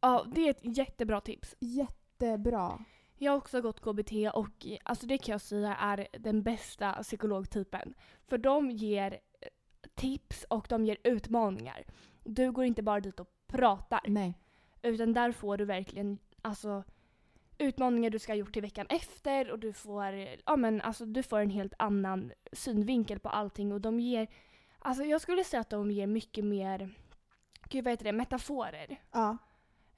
Speaker 1: ja, det är ett jättebra tips.
Speaker 2: Jättebra.
Speaker 1: Jag har också gått KBT och eh, alltså det kan jag säga är den bästa psykologtypen. För de ger eh, tips och de ger utmaningar. Du går inte bara dit och pratar.
Speaker 2: Nej.
Speaker 1: Utan där får du verkligen alltså, utmaningar du ska ha gjort till veckan efter och du får, ja, men, alltså, du får en helt annan synvinkel på allting. Och de ger, alltså, jag skulle säga att de ger mycket mer gud, vad heter det, metaforer
Speaker 2: Ja.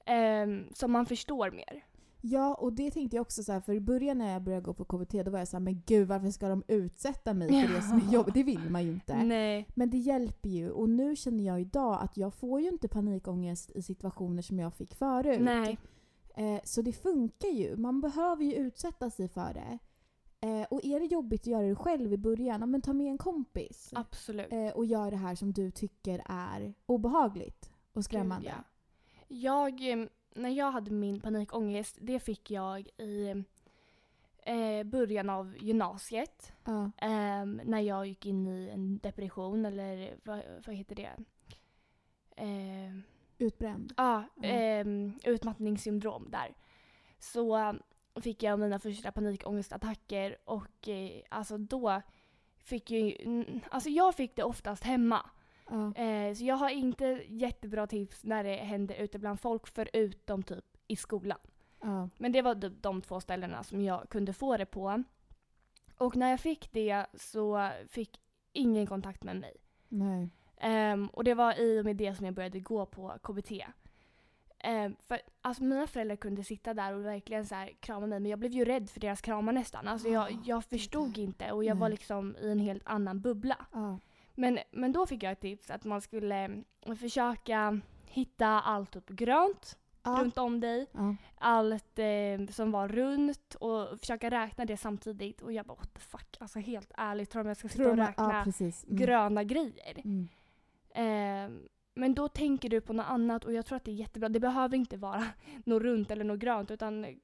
Speaker 1: ehm, som man förstår mer.
Speaker 2: Ja, och det tänkte jag också så här, för i början när jag började gå på KBT då var jag så här, men gud varför ska de utsätta mig för det som är jobbigt? Det vill man ju inte.
Speaker 1: Nej.
Speaker 2: Men det hjälper ju och nu känner jag idag att jag får ju inte panikångest i situationer som jag fick förut.
Speaker 1: Nej.
Speaker 2: Eh, så det funkar ju. Man behöver ju utsätta sig för det. Eh, och är det jobbigt att göra det själv i början, ja, men ta med en kompis.
Speaker 1: Absolut.
Speaker 2: Eh, och gör det här som du tycker är obehagligt och skrämmande.
Speaker 1: Gud, ja. Jag, eh, när jag hade min panikångest, det fick jag i eh, början av gymnasiet.
Speaker 2: Ja.
Speaker 1: Ehm, när jag gick in i en depression eller vad, vad heter det? Ehm,
Speaker 2: Utbränd.
Speaker 1: Ja,
Speaker 2: Mm.
Speaker 1: ehm, utmattningssyndrom där. Så eh, fick jag mina första panikångestattacker och eh, alltså då fick ju, mm, alltså jag fick det oftast hemma.
Speaker 2: Ja. Ja.
Speaker 1: Eh, så jag har inte jättebra tips när det händer ute bland folk förutom typ i skolan.
Speaker 2: Ja.
Speaker 1: Men det var typ de två ställena som jag kunde få det på. Och när jag fick det så fick ingen kontakt med mig.
Speaker 2: Nej.
Speaker 1: Ehm, och det var i och med det som jag började gå på KBT. Ehm, för alltså mina föräldrar kunde sitta där och verkligen så här krama mig men jag blev ju rädd för deras kramar nästan. Alltså jag,
Speaker 2: Ja,
Speaker 1: jag förstod inte och jag
Speaker 2: Ah, Nej.
Speaker 1: var liksom i en helt annan bubbla.
Speaker 2: Ja.
Speaker 1: Men, men då fick jag ett tips att man skulle mm, försöka hitta allt typ grönt
Speaker 2: Ja.
Speaker 1: runt om dig.
Speaker 2: Ja.
Speaker 1: Allt eh, som var runt och försöka räkna det samtidigt. Och jag bara what the fuck, alltså helt ärligt tror de jag ska
Speaker 2: Tror
Speaker 1: sitta och
Speaker 2: man- ja,
Speaker 1: räkna
Speaker 2: precis. Mm.
Speaker 1: gröna grejer?
Speaker 2: Mm.
Speaker 1: Ehm, men då tänker du på något annat och jag tror att det är jättebra. Det behöver inte vara något runt eller något grönt utan eh,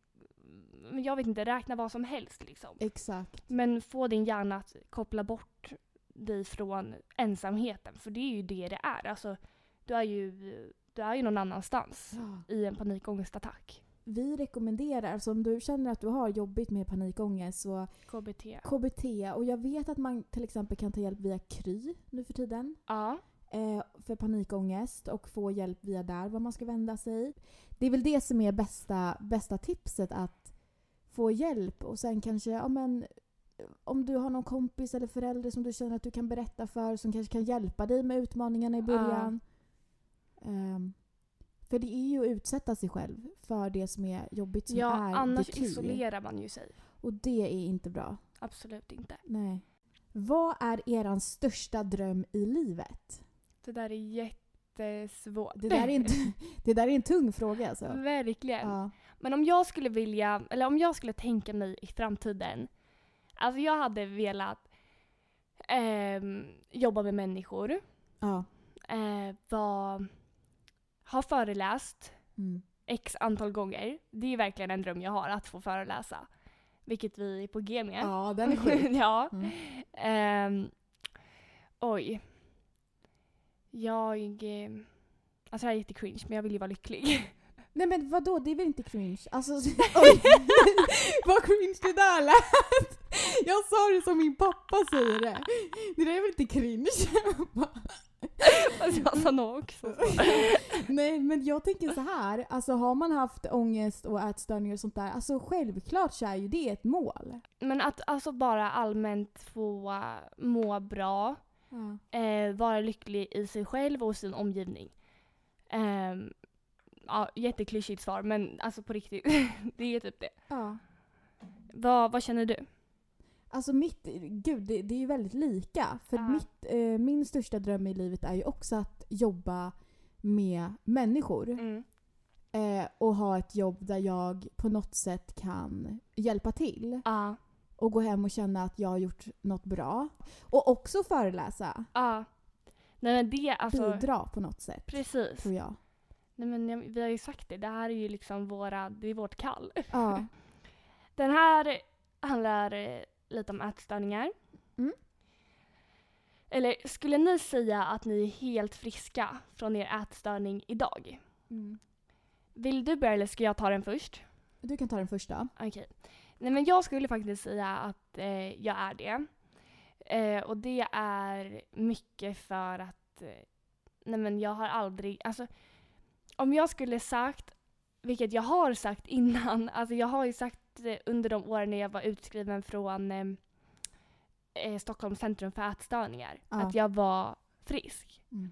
Speaker 1: men jag vet inte, räkna vad som helst liksom.
Speaker 2: Exakt.
Speaker 1: Men få din hjärna att koppla bort dig från ensamheten för det är ju det det är. Alltså, du är ju, du är ju någon annanstans
Speaker 2: Ja.
Speaker 1: i en panikångestattack.
Speaker 2: Vi rekommenderar, alltså om du känner att du har jobbigt med panikångest så
Speaker 1: KBT.
Speaker 2: KBT och jag vet att man till exempel kan ta hjälp via Kry nu för tiden
Speaker 1: Ja.
Speaker 2: eh, för panikångest och få hjälp via där vad man ska vända sig. Det är väl det som är bästa, bästa tipset att få hjälp och sen kanske ja, men, eh, om du har någon kompis eller förälder som du känner att du kan berätta för som kanske kan hjälpa dig med utmaningarna i början. Ehm, för det är ju att utsätta sig själv för det som är jobbigt som
Speaker 1: ja,
Speaker 2: är
Speaker 1: annars
Speaker 2: det kul.
Speaker 1: isolerar man ju sig.
Speaker 2: Och det är inte bra.
Speaker 1: Absolut inte.
Speaker 2: Nej. Vad är eran största dröm i livet?
Speaker 1: Det där är jättesvårt.
Speaker 2: Det där är en, det där är en tung fråga alltså.
Speaker 1: Verkligen.
Speaker 2: Ja.
Speaker 1: Men om jag skulle vilja, eller om jag skulle tänka mig i framtiden. Alltså jag hade velat ehm, jobba med människor,
Speaker 2: ja.
Speaker 1: eh, vara- ha föreläst
Speaker 2: Mm.
Speaker 1: x antal gånger. Det är verkligen en dröm jag har, att få föreläsa. Vilket vi är på G med.
Speaker 2: ja, den är sjuk.
Speaker 1: ja.
Speaker 2: Mm.
Speaker 1: Ehm, oj. Jag... eh, Alltså det här är jättecringe men jag vill ju vara lycklig.
Speaker 2: Nej men vadå, det är väl inte cringe? Alltså, oj! Vad cringe det där lät! Jag sa det som min pappa säger det. Det där är väl inte cringe?
Speaker 1: Fast jag sa nog också.
Speaker 2: Nej men jag tänker så här, alltså har man haft ångest och ätstörningar och sånt där, alltså självklart så är ju det ett mål.
Speaker 1: Men att alltså bara allmänt få eh, må bra,
Speaker 2: Ja.
Speaker 1: eh, vara lycklig i sig själv och sin omgivning. Ehm, ja, jätteklyschigt svar men alltså på riktigt, det är typ det.
Speaker 2: ja.
Speaker 1: Vad, vad känner du?
Speaker 2: Alltså mitt, gud det, det är ju väldigt lika. För
Speaker 1: Ja.
Speaker 2: mitt, eh, min största dröm i livet är ju också att jobba med människor. Eh, och ha ett jobb där jag på något sätt kan hjälpa till.
Speaker 1: Ja,
Speaker 2: Och gå hem och känna att jag har gjort något bra. Och också föreläsa.
Speaker 1: ja. Nej men det alltså,
Speaker 2: Bidra på något sätt.
Speaker 1: precis.
Speaker 2: Tror jag.
Speaker 1: Nej men jag, vi har ju sagt det, det här är ju liksom våra, det är vårt kall.
Speaker 2: Ja.
Speaker 1: Den här handlar eh, lite om ätstörningar.
Speaker 2: Mm.
Speaker 1: Eller skulle ni säga att ni är helt friska från er ätstörning idag? Vill du börja eller ska jag ta den först?
Speaker 2: Du kan ta den första.
Speaker 1: Okej. Nej men jag skulle faktiskt säga att eh, jag är det. Eh, och det är mycket för att eh, nej men jag har aldrig, alltså om jag skulle sagt, vilket jag har sagt innan, alltså jag har ju sagt eh, under de åren när jag var utskriven från eh, eh, Stockholms centrum för ätstörningar,
Speaker 2: Ja.
Speaker 1: att jag var frisk.
Speaker 2: Mm.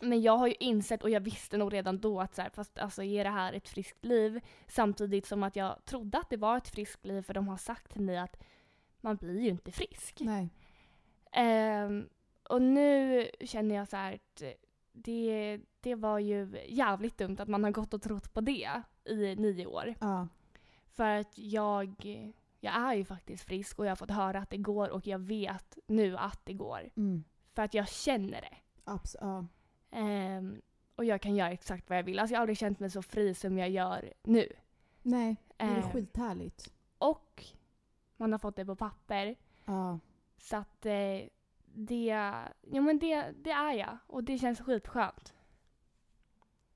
Speaker 1: Men jag har ju insett, och jag visste nog redan då att så här, fast alltså är det här ett friskt liv? Samtidigt som att jag trodde att det var ett friskt liv för de har sagt till mig att man blir ju inte frisk.
Speaker 2: Nej.
Speaker 1: Ehm, och nu känner jag så här att det, det var ju jävligt dumt att man har gått och trott på det i nio år.
Speaker 2: Ja.
Speaker 1: För att jag, jag är ju faktiskt frisk och jag har fått höra att det går och jag vet nu att det går.
Speaker 2: Mm.
Speaker 1: För att jag känner det.
Speaker 2: Abs- ja.
Speaker 1: Ehm, och jag kan göra exakt vad jag vill. Alltså jag har aldrig känt mig så fri som jag gör nu.
Speaker 2: Nej, det är
Speaker 1: Ehm,
Speaker 2: skithärligt.
Speaker 1: och man har fått det på papper.
Speaker 2: Ja.
Speaker 1: Så att eh, det, ja, men det, det är jag och det känns skitskönt.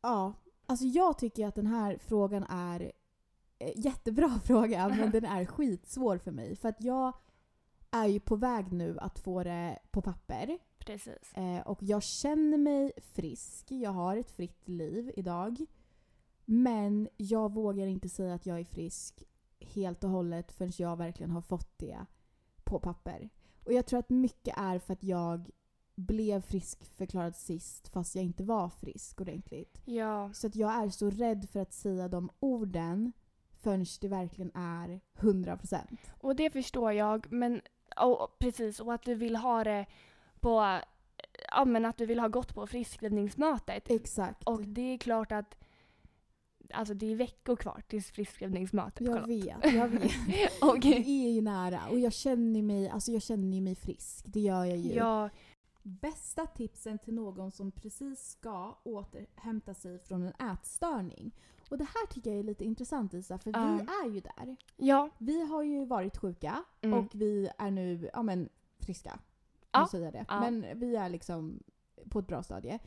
Speaker 2: Ja. Alltså jag tycker att den här frågan är eh, jättebra fråga men den är skitsvår för mig. För att jag är ju på väg nu att få det på papper.
Speaker 1: Precis.
Speaker 2: Eh, och jag känner mig frisk. Jag har ett fritt liv idag. Men jag vågar inte säga att jag är frisk helt och hållet förrän jag verkligen har fått det på papper. Och jag tror att mycket är för att jag blev friskförklarad sist fast jag inte var frisk ordentligt.
Speaker 1: Ja,
Speaker 2: Så att jag är så rädd för att säga de orden förrän det verkligen är 100%.
Speaker 1: och det förstår jag. Men och, precis, och att du vill ha det på... Ja, men att du vill ha gått på friskskrivningsmötet.
Speaker 2: Exakt.
Speaker 1: Och det är klart att Alltså det är veckor kvar tills friskskrivningsmötet.
Speaker 2: jag
Speaker 1: Charlotte.
Speaker 2: vet, jag vet.
Speaker 1: Okej.
Speaker 2: Det är ju nära och jag känner mig, alltså jag känner ju mig frisk. Det gör jag ju.
Speaker 1: Ja,
Speaker 2: Bästa tipsen till någon som precis ska återhämta sig från en ätstörning. Och det här tycker jag är lite intressant Isa, för
Speaker 1: Ja.
Speaker 2: vi är ju där.
Speaker 1: ja,
Speaker 2: Vi har ju varit sjuka
Speaker 1: Mm.
Speaker 2: och vi är nu ja, men, friska.
Speaker 1: Ja.
Speaker 2: Nu säger jag det.
Speaker 1: Ja.
Speaker 2: Men vi är liksom på ett bra stadie.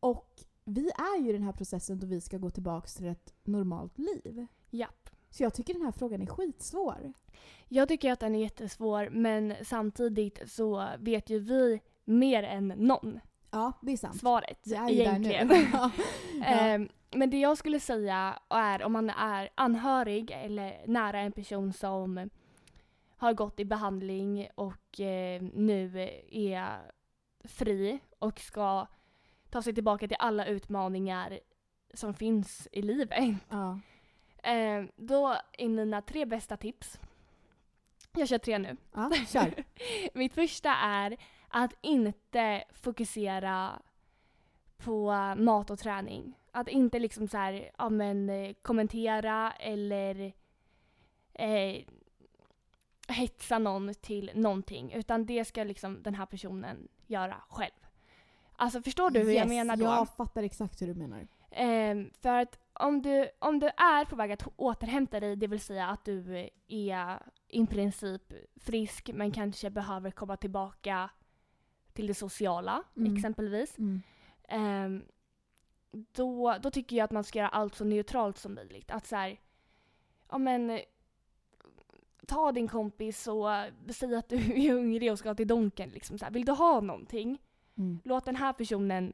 Speaker 2: Och vi är ju i den här processen då vi ska gå tillbaka till ett normalt liv.
Speaker 1: japp.
Speaker 2: Så jag tycker den här frågan är skitsvår.
Speaker 1: Jag tycker att den är jättesvår men samtidigt så vet ju vi mer än någon
Speaker 2: Ja, det är sant.
Speaker 1: svaret
Speaker 2: Vi är ju
Speaker 1: egentligen.
Speaker 2: där nu. ja. Ja.
Speaker 1: Ehm, men det jag skulle säga är om man är anhörig eller nära en person som har gått i behandling och eh, nu är fri och ska ta sig tillbaka till alla utmaningar som finns i livet.
Speaker 2: Ja.
Speaker 1: Ehm, då är mina tre bästa tips. Jag kör tre nu.
Speaker 2: ja, kör.
Speaker 1: Mitt första är att inte fokusera på mat och träning. Att inte liksom så här, ja, men, eh, kommentera eller eh, hetsa någon till någonting. Utan det ska liksom den här personen göra själv. Alltså förstår du hur jag
Speaker 2: Yes,
Speaker 1: menar då?
Speaker 2: Jag fattar exakt hur du menar.
Speaker 1: Ehm, för att om du, om du är på väg att återhämta dig, det vill säga att du är i princip frisk men kanske behöver komma tillbaka till det sociala
Speaker 2: Mm.
Speaker 1: exempelvis.
Speaker 2: Mm.
Speaker 1: Ehm, då, då tycker jag att man ska göra allt så neutralt som möjligt. Att så här, ja men eh, ta din kompis och eh, säg att du är hungrig och ska till Donken. Liksom så här. Vill du ha någonting?
Speaker 2: Mm.
Speaker 1: Låt den här personen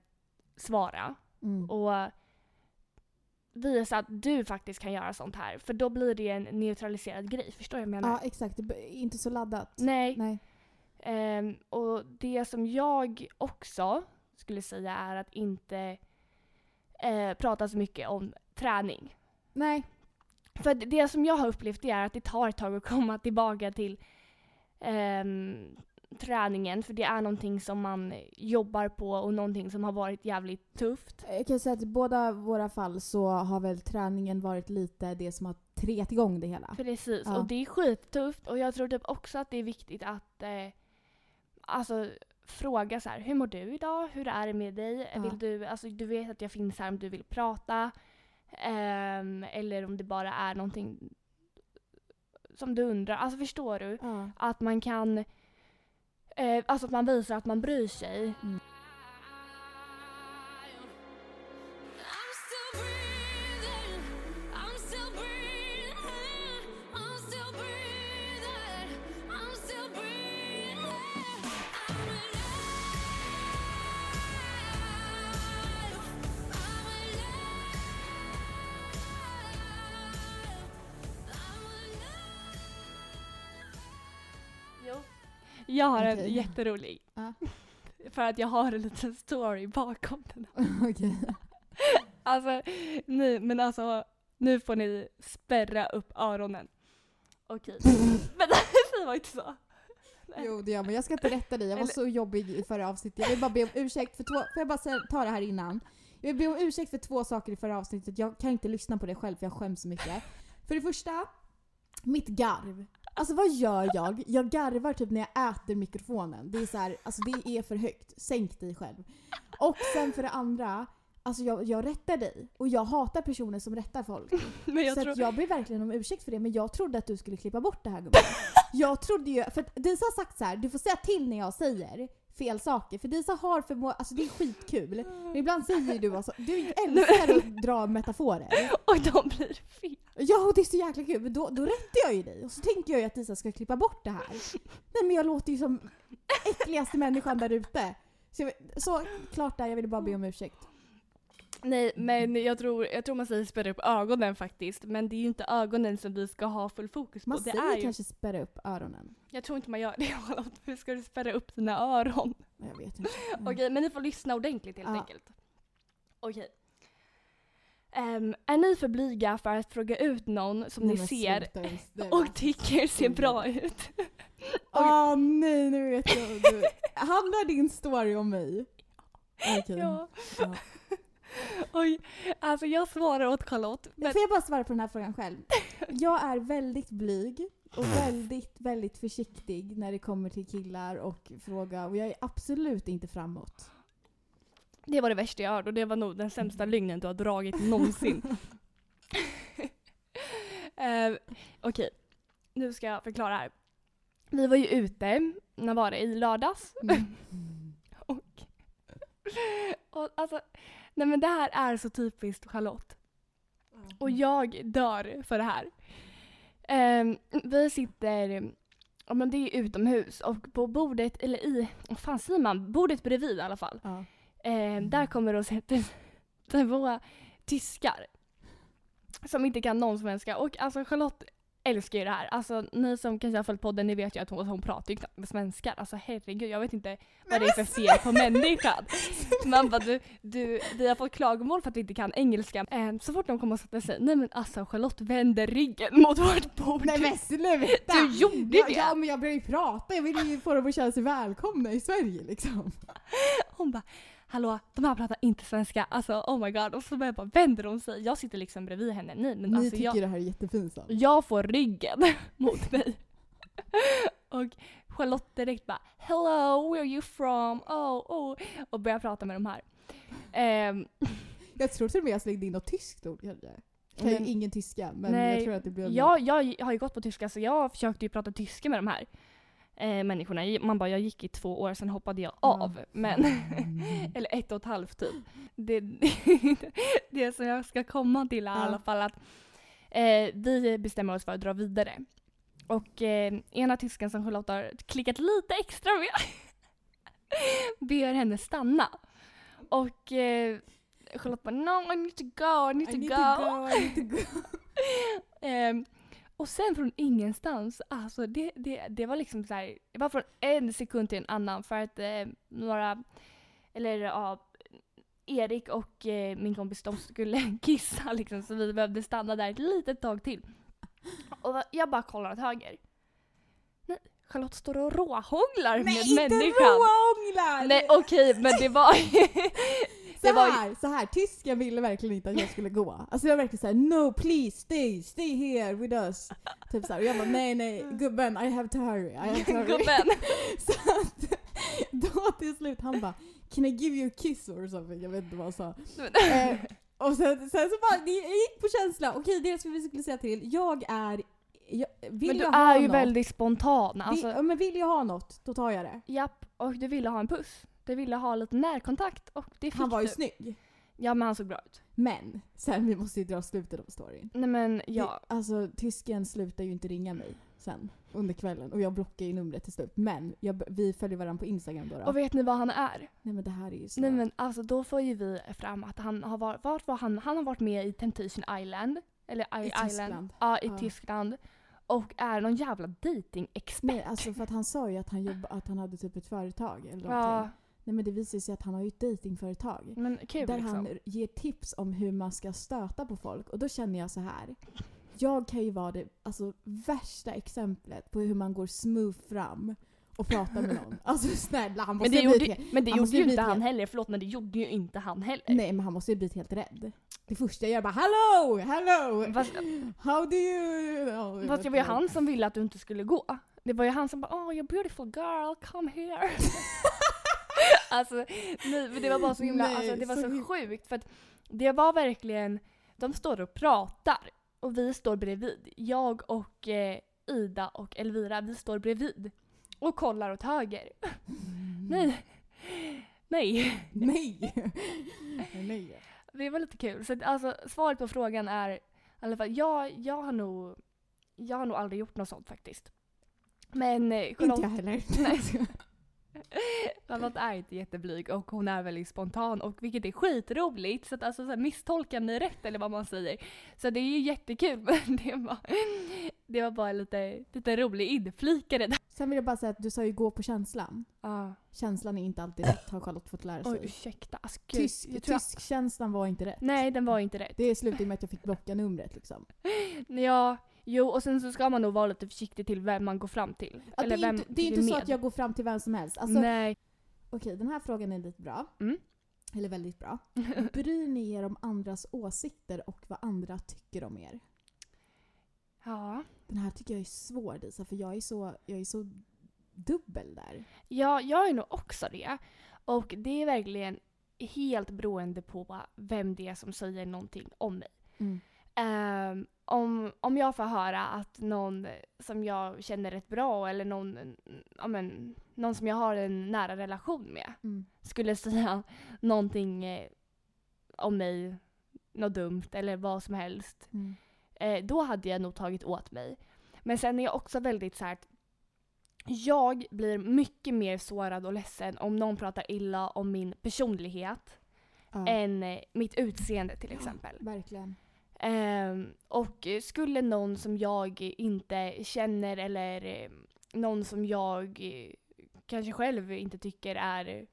Speaker 1: svara
Speaker 2: Mm.
Speaker 1: och visa att du faktiskt kan göra sånt här. För då blir det en neutraliserad grej. Förstår du vad jag menar?
Speaker 2: Ja, exakt. Det är Inte så laddat.
Speaker 1: Nej.
Speaker 2: Nej.
Speaker 1: Ehm, och det som jag också skulle säga är att inte eh, prata så mycket om träning.
Speaker 2: Nej.
Speaker 1: För att det som jag har upplevt det är att det tar ett tag att komma tillbaka till ehm, träningen. För det är någonting som man jobbar på och någonting som har varit jävligt tufft.
Speaker 2: Jag kan säga att i båda våra fall så har väl träningen varit lite det som har tret igång det hela.
Speaker 1: Precis,
Speaker 2: Ja.
Speaker 1: och det är skittufft och jag tror typ också att det är viktigt att eh, alltså, fråga så här, hur mår du idag? Hur är det med dig?
Speaker 2: Ja.
Speaker 1: Vill du, alltså, du vet att jag finns här om du vill prata. Ehm, eller om det bara är någonting som du undrar. Alltså förstår du?
Speaker 2: Ja.
Speaker 1: Att man kan, eh, alltså att man visar att man bryr sig.
Speaker 5: I'm still breathing. I'm still breathing. I'm still breathing. I'm still breathing. I'm alive. I'm alive. I'm alive.
Speaker 1: Jag har en
Speaker 2: Okej.
Speaker 1: jätterolig.
Speaker 2: Ja.
Speaker 1: För att jag har en liten story bakom den
Speaker 2: Okej.
Speaker 1: Alltså, nej men alltså nu får ni spärra upp öronen. Okej. men det var inte så.
Speaker 2: Jo det gör man. Jag ska inte rätta dig. Jag var
Speaker 1: Eller-
Speaker 2: så jobbig i förra avsnittet. Jag vill bara be om ursäkt för två... Får jag bara säga, ta det här innan? Jag vill be om ursäkt för två saker i förra avsnittet. Jag kan inte lyssna på det själv för jag skäms så mycket. För det första, mitt garv. Alltså vad gör jag? Jag garvar typ när jag äter mikrofonen. Det är så här, alltså det är för högt. Sänk dig själv. Och sen för det andra, alltså jag, jag rättar dig. Och jag hatar personer som rättar folk.
Speaker 1: Men jag
Speaker 2: så
Speaker 1: tror...
Speaker 2: att jag ber verkligen om ursäkt för det men jag trodde att du skulle klippa bort det här gumman. jag trodde ju, för att Disa har sagt så här: du får säga till när jag säger. fel saker. För Disa har förmåga, alltså det är skitkul. Men ibland säger ju du alltså, du älskar att dra metaforer.
Speaker 1: Och de blir fel.
Speaker 2: Ja, och det är så jäkla kul. Men då, då rättar jag ju dig. Och så tänker jag ju att Disa ska klippa bort det här. Nej men jag låter ju som äckligaste människan där ute. Så, jag, så klart där, jag ville bara be om ursäkt.
Speaker 1: Nej, men jag tror, jag tror man säger spärra upp ögonen faktiskt. Men det är ju inte ögonen som vi ska ha full fokus på.
Speaker 2: Man
Speaker 1: det
Speaker 2: säger
Speaker 1: är ju,
Speaker 2: kanske spärra upp öronen.
Speaker 1: jag tror inte man gör det. Charlotte. Hur ska du spärra upp dina öron?
Speaker 2: Jag vet inte.
Speaker 1: Okej, men ni får lyssna ordentligt helt
Speaker 2: Ja.
Speaker 1: enkelt. Okej. Ehm, är ni för blyga för att fråga ut någon som
Speaker 2: Nej,
Speaker 1: ni
Speaker 2: men
Speaker 1: ser
Speaker 2: sluta just nu.
Speaker 1: och tycker ser bra ut?
Speaker 2: Åh Ah, nej, nu vet jag. Du, handlar din story om mig? Okej.
Speaker 1: Ja.
Speaker 2: Ja.
Speaker 1: Oj, alltså jag svarar åt Charlotte. Men
Speaker 2: Får jag bara svara på den här frågan själv? Jag är väldigt blyg och väldigt, väldigt försiktig när det kommer till killar och fråga och jag är absolut inte framåt.
Speaker 1: det var det värsta jag hört och det var nog den sämsta lögnen du har dragit någonsin. Eh, Okej, nu ska jag förklara här. Vi var ju ute, när var det? I lördags?
Speaker 2: Mm.
Speaker 1: Och, och alltså, nej men det här är så typiskt Charlotte. Och jag dör för det här. Ehm, vi sitter, ja men det är utomhus och på bordet, eller i, vad fan säger man? Bordet bredvid i alla fall.
Speaker 2: Ja.
Speaker 1: Ehm, där kommer det och sätter sig våra tyskar. Som inte kan någon svenska. Och alltså Charlotte älskar ju det här. Alltså ni som kanske har följt podden, ni vet ju att hon, hon pratar ju knappt med svenskar. Alltså herregud, jag vet inte vad det är för fel på människan. Man bara du, du, vi har fått klagomål för att vi inte kan engelska. Ehm, så fort de kommer och sätter sig, nej men alltså Charlotte vänder ryggen mot vårt bord.
Speaker 2: Nej men sluta!
Speaker 1: Du gjorde
Speaker 2: ja,
Speaker 1: det.
Speaker 2: Ja men jag började ju prata, jag ville ju få dem att känna sig välkomna i Sverige liksom.
Speaker 1: Hon bara Hallå, de här pratar inte svenska. Alltså oh my god. Och så bara vänder hon sig. Jag sitter liksom bredvid henne. Nej men
Speaker 2: Ni
Speaker 1: alltså
Speaker 2: tycker
Speaker 1: jag,
Speaker 2: det här är jättepinsamt.
Speaker 1: jag får ryggen mot mig. Och Charlotte direkt bara Hello, where are you from? Oh, oh. Och börjar prata med de här. Ehm,
Speaker 2: Jag tror till och med jag slängde in något tyskt ord kanske. Jag kan
Speaker 1: Men-
Speaker 2: ju ingen tyska men
Speaker 1: Nej,
Speaker 2: jag tror att det blev...
Speaker 1: jag, jag har ju gått på tyska så jag försökte ju prata tyska med de här eh, människorna. Man bara jag gick i två år sen hoppade jag av. Men
Speaker 2: Mm.
Speaker 1: Eller ett och ett halvt typ. Det, det som jag ska komma till är i
Speaker 2: Ja.
Speaker 1: alla fall att eh, vi bestämmer oss för att dra vidare. Och eh, ena tysken som Charlotte har klickat lite extra med ber henne stanna. Och eh, Charlotte bara no I need to go, I need,
Speaker 2: I
Speaker 1: to,
Speaker 2: need
Speaker 1: go.
Speaker 2: to go, I need to go.
Speaker 1: Ehm, och sen från ingenstans, alltså det, det, det var liksom så här, det var från en sekund till en annan för att eh, några, eller ja, Erik och eh, min kompis de skulle kissa liksom så vi behövde stanna där ett litet tag till. Och va- jag bara kollar åt höger. Nej, Charlotte står och råhånglar
Speaker 2: Nej
Speaker 1: med
Speaker 2: inte
Speaker 1: människan.
Speaker 2: råånglar!
Speaker 1: Nej okej men det var
Speaker 2: Så
Speaker 1: Det var ju-
Speaker 2: här, så här, tysken ville verkligen inte att jag skulle gå. Alltså jag var verkligen såhär no please stay, stay here with us. Typ såhär. Och jag bara nej nej gubben I have to hurry, I have to hurry.
Speaker 1: gubben.
Speaker 2: Så att då till slut han bara can I give you a kiss or something? Jag vet inte vad han sa. eh, och sen, sen så bara, det gick på känsla. Okej det som vi skulle säga till, jag är, jag, vill
Speaker 1: Men du
Speaker 2: jag ha
Speaker 1: är ju
Speaker 2: något,
Speaker 1: väldigt spontan
Speaker 2: vill,
Speaker 1: alltså.
Speaker 2: ja, men vill jag ha något, då tar jag det.
Speaker 1: Japp, och du ville ha en puss. Du ville ha lite närkontakt och det fick
Speaker 2: Han var ju
Speaker 1: du.
Speaker 2: snygg.
Speaker 1: Ja men han såg bra ut.
Speaker 2: Men sen vi måste ju dra slutet av storyn.
Speaker 1: Nej men ja.
Speaker 2: Ja. Alltså tysken slutar ju inte ringa mig sen under kvällen och jag blockar ju numret till slut. Men jag, b- vi följer varandra på Instagram då. då.
Speaker 1: Och vet ni vad han är?
Speaker 2: Nej men det här är ju så.
Speaker 1: Nej men alltså då får ju vi fram att han har varit, vart var han? Han har varit med i Temptation Island. Eller I,
Speaker 2: I
Speaker 1: Island.
Speaker 2: Tyskland.
Speaker 1: Ja i
Speaker 2: Ja.
Speaker 1: Tyskland. Och är någon jävla
Speaker 2: Nej
Speaker 1: datingexpert.
Speaker 2: alltså för att han sa ju att han, jobb, att han hade typ ett företag eller någonting.
Speaker 1: Ja
Speaker 2: Nej men det visar sig att han har ju ett dejtingföretag.
Speaker 1: men kul
Speaker 2: Där
Speaker 1: liksom.
Speaker 2: han ger tips om hur man ska stöta på folk och då känner jag så här. Jag kan ju vara det alltså, värsta exemplet på hur man går smooth fram och pratar med någon. Alltså snälla han måste
Speaker 1: Men det
Speaker 2: bli
Speaker 1: gjorde, men det
Speaker 2: han
Speaker 1: gjorde
Speaker 2: måste
Speaker 1: ju
Speaker 2: bli
Speaker 1: inte han
Speaker 2: till-
Speaker 1: heller. Förlåt men det gjorde ju inte han heller.
Speaker 2: Nej men han måste ju blivit helt rädd. Det första jag gör bara hello, hello!
Speaker 1: Fast,
Speaker 2: How do you... Ja, jag
Speaker 1: fast
Speaker 2: vet
Speaker 1: det var ju
Speaker 2: inte.
Speaker 1: han som ville att du inte skulle gå. Det var ju han som bara oh you're beautiful girl, come here. Alltså, nej, men det var bara så himla,
Speaker 2: Nej,
Speaker 1: alltså, det var så,
Speaker 2: så him-
Speaker 1: sjukt för att det var verkligen, de står och pratar och vi står bredvid. Jag och eh, Ida och Elvira, vi står bredvid och kollar åt höger.
Speaker 2: Mm.
Speaker 1: Nej. Nej.
Speaker 2: Nej! Nej.
Speaker 1: Det var lite kul. Så att, alltså, svaret på frågan är i alla fall, jag, jag, har nog, jag har nog aldrig gjort något sånt faktiskt. Men eh,
Speaker 2: Inte jag
Speaker 1: Charlotte,
Speaker 2: heller.
Speaker 1: Charlotte är inte jätteblyg och hon är väldigt spontan och vilket är skitroligt. Så att alltså så här, misstolkar ni rätt eller vad man säger. Så det är ju jättekul men det var, det var bara lite, lite rolig inflikare där.
Speaker 2: Sen vill jag bara säga att du sa ju gå på känslan.
Speaker 1: Ah.
Speaker 2: Känslan är inte alltid rätt har Charlotte fått lära
Speaker 1: Oj
Speaker 2: sig.
Speaker 1: ursäkta. Alltså, gud,
Speaker 2: Tysk,
Speaker 1: jag tror jag-
Speaker 2: tyskkänslan var inte rätt.
Speaker 1: Nej den var inte rätt.
Speaker 2: Det slutade med att jag fick blocka numret liksom.
Speaker 1: Ja, jo och sen så ska man nog vara lite försiktig till vem man går fram till.
Speaker 2: Ja, det är
Speaker 1: vem
Speaker 2: inte, det är
Speaker 1: till
Speaker 2: inte så
Speaker 1: med.
Speaker 2: att jag går fram till vem som helst. Alltså,
Speaker 1: Nej.
Speaker 2: Okej, den här frågan är lite bra.
Speaker 1: Mm.
Speaker 2: Eller väldigt bra. Bryr ni er om andras åsikter och vad andra tycker om er?
Speaker 1: Ja.
Speaker 2: Den här tycker jag är svår Disa, för jag är så, jag är så dubbel där.
Speaker 1: ja, jag är nog också det. Och det är verkligen helt beroende på vem det är som säger någonting om mig.
Speaker 2: Mm.
Speaker 1: Ehm, om, om jag får höra att någon som jag känner rätt bra eller någon, ja, men, någon som jag har en nära relation med
Speaker 2: Mm.
Speaker 1: skulle säga någonting eh, om mig, något dumt eller vad som helst
Speaker 2: Mm.
Speaker 1: eh, då hade jag nog tagit åt mig. Men sen är jag också väldigt så här att jag blir mycket mer sårad och ledsen om någon pratar illa om min personlighet
Speaker 2: Ja,
Speaker 1: än eh, mitt utseende till exempel.
Speaker 2: verkligen.
Speaker 1: Ehm, och eh, skulle någon som jag inte känner eller eh, någon som jag eh, kanske själv inte tycker är eh,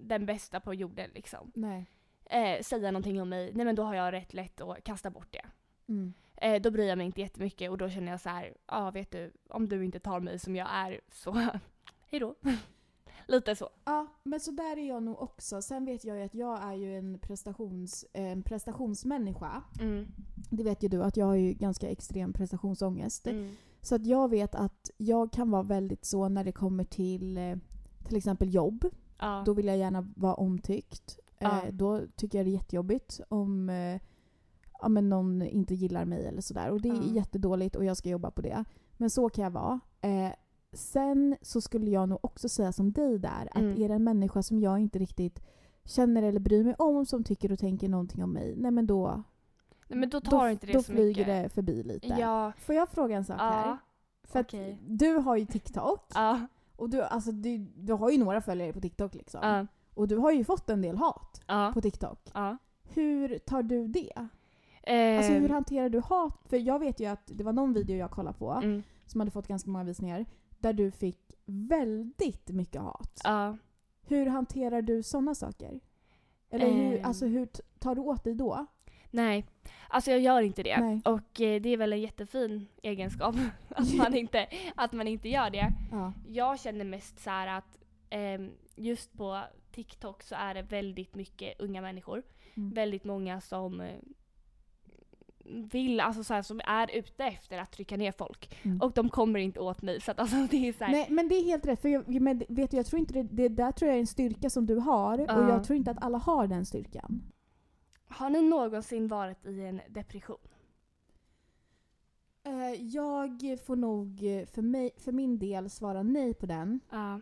Speaker 1: den bästa på jorden liksom,
Speaker 2: Nej.
Speaker 1: eh, säga någonting om mig, nej men då har jag rätt lätt att kasta bort det.
Speaker 2: Mm.
Speaker 1: Eh, då bryr jag mig inte jättemycket och då känner jag så här, ja vet du, om du inte tar mig som jag är så hejdå. Lite så.
Speaker 2: Ja, men så där är jag nog också. Sen vet jag ju att jag är ju en, prestations, eh, en prestationsmänniska. Det vet ju du att jag har ju ganska extrem prestationsångest. Så att jag vet att jag kan vara väldigt så när det kommer till eh, till exempel jobb.
Speaker 1: Ja.
Speaker 2: Då vill jag gärna vara omtyckt.
Speaker 1: Ja.
Speaker 2: Eh, då tycker jag det är jättejobbigt om eh, ja, men någon inte gillar mig eller sådär. Och det är
Speaker 1: Ja.
Speaker 2: jättedåligt och jag ska jobba på det. Men så kan jag vara. Eh, sen så skulle jag nog också säga som dig där att
Speaker 1: Mm.
Speaker 2: är det en människa som jag inte riktigt känner eller bryr mig om som tycker och tänker någonting om mig, nej men då,
Speaker 1: Nej, men då tar
Speaker 2: då,
Speaker 1: inte det
Speaker 2: då
Speaker 1: så
Speaker 2: flyger
Speaker 1: mycket.
Speaker 2: det förbi lite.
Speaker 1: Ja.
Speaker 2: Får jag fråga en sak här?
Speaker 1: Ja.
Speaker 2: För att
Speaker 1: okej.
Speaker 2: du har ju TikTok.
Speaker 1: Ja.
Speaker 2: Och du, alltså, du, du har ju några följare på TikTok liksom.
Speaker 1: Ja.
Speaker 2: Och du har ju fått en del hat
Speaker 1: Ja.
Speaker 2: på TikTok.
Speaker 1: ja.
Speaker 2: Hur tar du det?
Speaker 1: Eh,
Speaker 2: Alltså hur hanterar du hat? För jag vet ju att det var någon video jag kollade på
Speaker 1: mm.
Speaker 2: som hade fått ganska många visningar där du fick väldigt mycket hat.
Speaker 1: Ja.
Speaker 2: Hur hanterar du sådana saker? Eller hur,
Speaker 1: Ehm.
Speaker 2: alltså, hur t- tar du åt dig då?
Speaker 1: Nej. Alltså jag gör inte det.
Speaker 2: Nej.
Speaker 1: Och eh, det är väl en jättefin egenskap att man inte, att man inte gör det.
Speaker 2: Ja.
Speaker 1: Jag känner mest så här att ehm, just på TikTok så är det väldigt mycket unga människor.
Speaker 2: Mm.
Speaker 1: Väldigt många som eh, vill, alltså så här, som är ute efter att trycka ner folk.
Speaker 2: Mm.
Speaker 1: Och de kommer inte åt mig så att alltså det är så här,
Speaker 2: Nej, men det är helt rätt. För jag, men, vet du, jag tror inte det, det där tror jag är en styrka som du har och
Speaker 1: Ja.
Speaker 2: jag tror inte att alla har den styrkan.
Speaker 1: Har ni någonsin varit i en depression?
Speaker 2: Eh, Jag får nog eh, för, mig, för min del svara nej på den.
Speaker 1: Ja.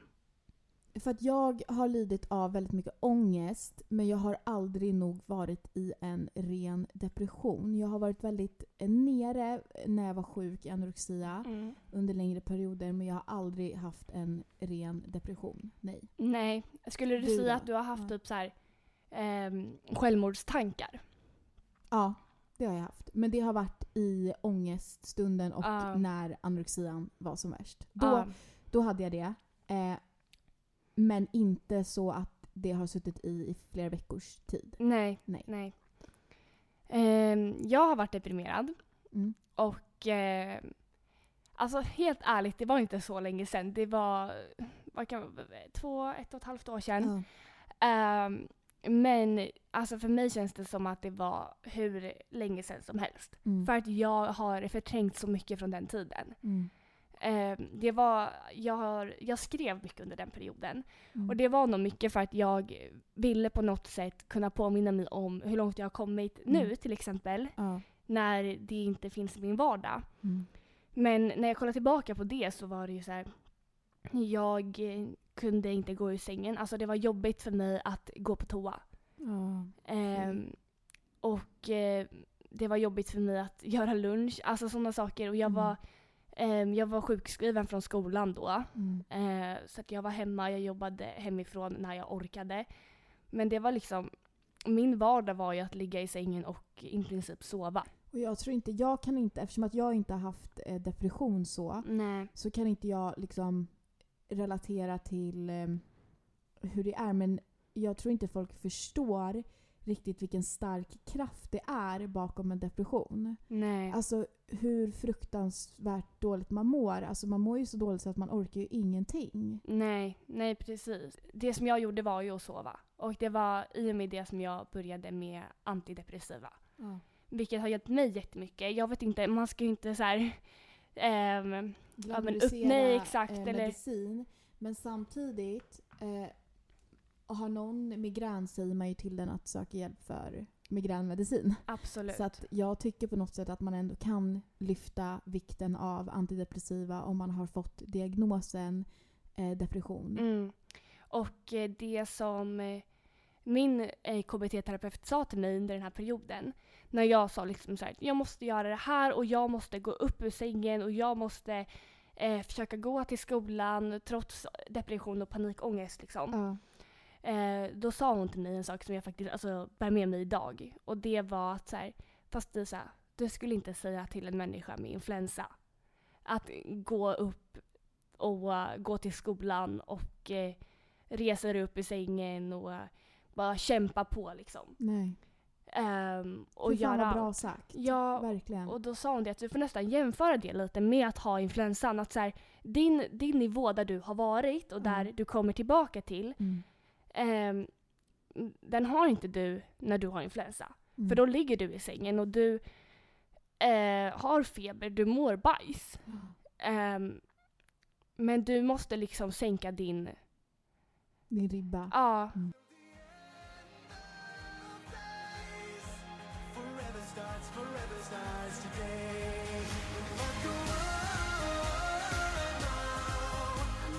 Speaker 2: För att jag har lidit av väldigt mycket ångest men jag har aldrig nog varit i en ren depression. Jag har varit väldigt eh, nere när jag var sjuk i anorexia
Speaker 1: Mm.
Speaker 2: under längre perioder men jag har aldrig haft en ren depression. Nej.
Speaker 1: Nej. Skulle du,
Speaker 2: Du
Speaker 1: säga
Speaker 2: då?
Speaker 1: att du har haft
Speaker 2: Ja.
Speaker 1: typ så här, ehm, självmordstankar?
Speaker 2: Ja, det har jag haft. Men det har varit i ångeststunden och
Speaker 1: Ah.
Speaker 2: när anorexian var som värst. Då,
Speaker 1: Ja.
Speaker 2: Då hade jag det. Eh, men inte så att det har suttit i i flera veckors tid.
Speaker 1: Nej.
Speaker 2: Nej.
Speaker 1: Nej. Ehm, jag har varit deprimerad.
Speaker 2: Mm.
Speaker 1: Och ehm, alltså helt ärligt, det var inte så länge sedan. Det var vad kan, två, ett och ett halvt år sedan.
Speaker 2: Ja. Mm.
Speaker 1: Ehm, men alltså för mig känns det som att det var hur länge sedan som helst.
Speaker 2: Mm.
Speaker 1: För att jag har förträngt så mycket från den tiden.
Speaker 2: Mm.
Speaker 1: Ehm, det var, jag, har, jag skrev mycket under den perioden.
Speaker 2: Mm.
Speaker 1: Och det var nog mycket för att jag ville på något sätt kunna påminna mig om hur långt jag har kommit nu
Speaker 2: Mm.
Speaker 1: till exempel.
Speaker 2: Ja.
Speaker 1: När det inte finns i min vardag.
Speaker 2: Mm.
Speaker 1: Men när jag kollar tillbaka på det så var det ju så här. Jag eh, kunde inte gå ur sängen. Alltså det var jobbigt för mig att gå på toa.
Speaker 2: Ja.
Speaker 1: Ehm, och eh, det var jobbigt för mig att göra lunch, alltså sådana saker. Och jag,
Speaker 2: Mm.
Speaker 1: var, ehm, jag var sjukskriven från skolan då.
Speaker 2: Mm.
Speaker 1: Eh, så att jag var hemma, jag jobbade hemifrån när jag orkade. Men det var liksom, min vardag var ju att ligga i sängen och i princip sova.
Speaker 2: Och jag tror inte, jag kan inte, eftersom att jag inte har haft eh, depression så,
Speaker 1: Nej.
Speaker 2: så kan inte jag liksom relatera till eh, hur det är. Men jag tror inte folk förstår riktigt vilken stark kraft det är bakom en depression.
Speaker 1: Nej.
Speaker 2: Alltså hur fruktansvärt dåligt man mår. Alltså man mår ju så dåligt så att man orkar ju ingenting.
Speaker 1: Nej, nej precis. Det som jag gjorde var ju att sova. Och det var i och med det som jag började med antidepressiva. Vilket har hjälpt mig jättemycket. Jag vet inte, man ska ju inte så här... ehm, Ja, men upp- nej, exakt,
Speaker 2: eh,
Speaker 1: eller-
Speaker 2: medicin. Men samtidigt, eh, har någon migrän säger man ju till den att söka hjälp för migränmedicin.
Speaker 1: absolut.
Speaker 2: Så att jag tycker på något sätt att man ändå kan lyfta vikten av antidepressiva om man har fått diagnosen eh, depression.
Speaker 1: Mm. Och eh, det som eh, min eh, KBT-terapeut sa till mig under den här perioden, när jag sa liksom så här, jag måste göra det här och jag måste gå upp ur sängen och jag måste eh, försöka gå till skolan trots depression och panikångest. Liksom.
Speaker 2: Ja.
Speaker 1: Eh, då sa hon till mig en sak som jag faktiskt alltså, bär med mig idag. Och det var att så här, fast Lisa, du skulle inte säga till en människa med influensa att gå upp och eh, gå till skolan och eh, resa dig upp i sängen och eh, bara kämpa på liksom.
Speaker 2: Nej.
Speaker 1: Ehm, och
Speaker 2: Och fan
Speaker 1: göra
Speaker 2: vad bra
Speaker 1: allt.
Speaker 2: sagt.
Speaker 1: Ja,
Speaker 2: Verkligen.
Speaker 1: och då sa hon det att du får nästan jämföra det lite med att ha influensan. Att så här, din, din nivå där du har varit och där
Speaker 2: Mm.
Speaker 1: du kommer tillbaka till
Speaker 2: Mm.
Speaker 1: Ehm, den har inte du när du har influensa.
Speaker 2: Mm.
Speaker 1: För då ligger du i sängen och du eh, har feber, du mår bajs. Ehm, men du måste liksom sänka din...
Speaker 2: Din ribba.
Speaker 1: Ja,
Speaker 6: Forever starts, forever starts today. But the world now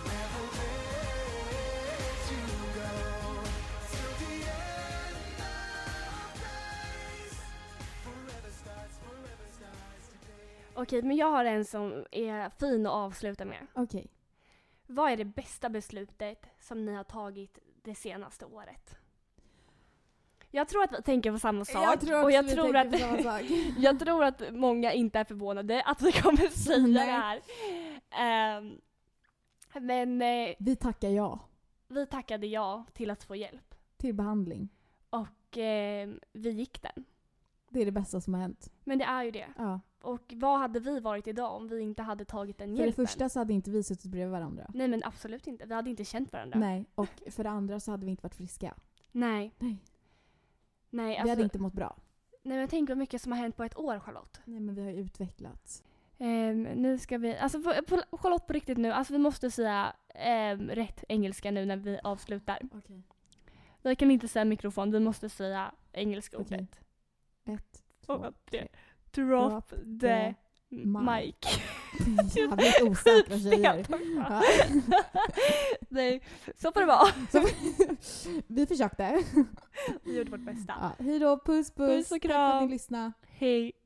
Speaker 6: never lets you go. Till the end of days. Forever starts, forever starts today.
Speaker 1: okej men jag har en som är fin att avsluta med.
Speaker 2: Okej.
Speaker 1: Vad är det bästa beslutet som ni har tagit det senaste året? Jag tror att vi tänker på samma sak. och jag
Speaker 2: också vi
Speaker 1: tror
Speaker 2: tänker på
Speaker 1: att
Speaker 2: samma sak.
Speaker 1: Jag tror att många inte är förvånade att vi kommer säga
Speaker 2: Nej.
Speaker 1: det här. Ehm, men eh,
Speaker 2: Vi tackar ja
Speaker 1: vi tackade ja till att få hjälp
Speaker 2: till behandling.
Speaker 1: och eh, vi gick den.
Speaker 2: Det är det bästa som har hänt.
Speaker 1: Men det är ju det.
Speaker 2: Ja.
Speaker 1: Och vad hade vi varit idag om vi inte hade tagit den
Speaker 2: För det
Speaker 1: hjälpen?
Speaker 2: första så hade inte vi suttit bredvid varandra.
Speaker 1: Nej men absolut inte. Vi hade inte känt varandra.
Speaker 2: Nej, och för det andra så hade vi inte varit friska.
Speaker 1: Nej.
Speaker 2: Nej.
Speaker 1: Nej,
Speaker 2: vi
Speaker 1: alltså,
Speaker 2: hade inte mått bra.
Speaker 1: nej men tänk vad mycket som har hänt på ett år Charlotte.
Speaker 2: Nej, men vi har ju utvecklats.
Speaker 1: Ehm, nu ska vi, alltså på, på, Charlotte på riktigt nu, alltså vi måste säga ehm, rätt engelska nu när vi avslutar.
Speaker 2: Okej.
Speaker 1: Vi kan inte säga mikrofon, vi måste säga engelska
Speaker 2: Okej.
Speaker 1: ordet.
Speaker 2: Ett, två,
Speaker 1: Och att det-
Speaker 2: tre.
Speaker 1: Drop the
Speaker 2: mic.
Speaker 1: mic.
Speaker 2: Jävligt osäkra tjejer. Ja.
Speaker 1: Nej, så får det vara.
Speaker 2: Så, vi försökte.
Speaker 1: Vi gjorde vårt bästa.
Speaker 2: Ja. Hej då, puss puss.
Speaker 1: Puss och
Speaker 2: Tack för att
Speaker 1: kram.
Speaker 2: ni lyssnade.
Speaker 1: Hej.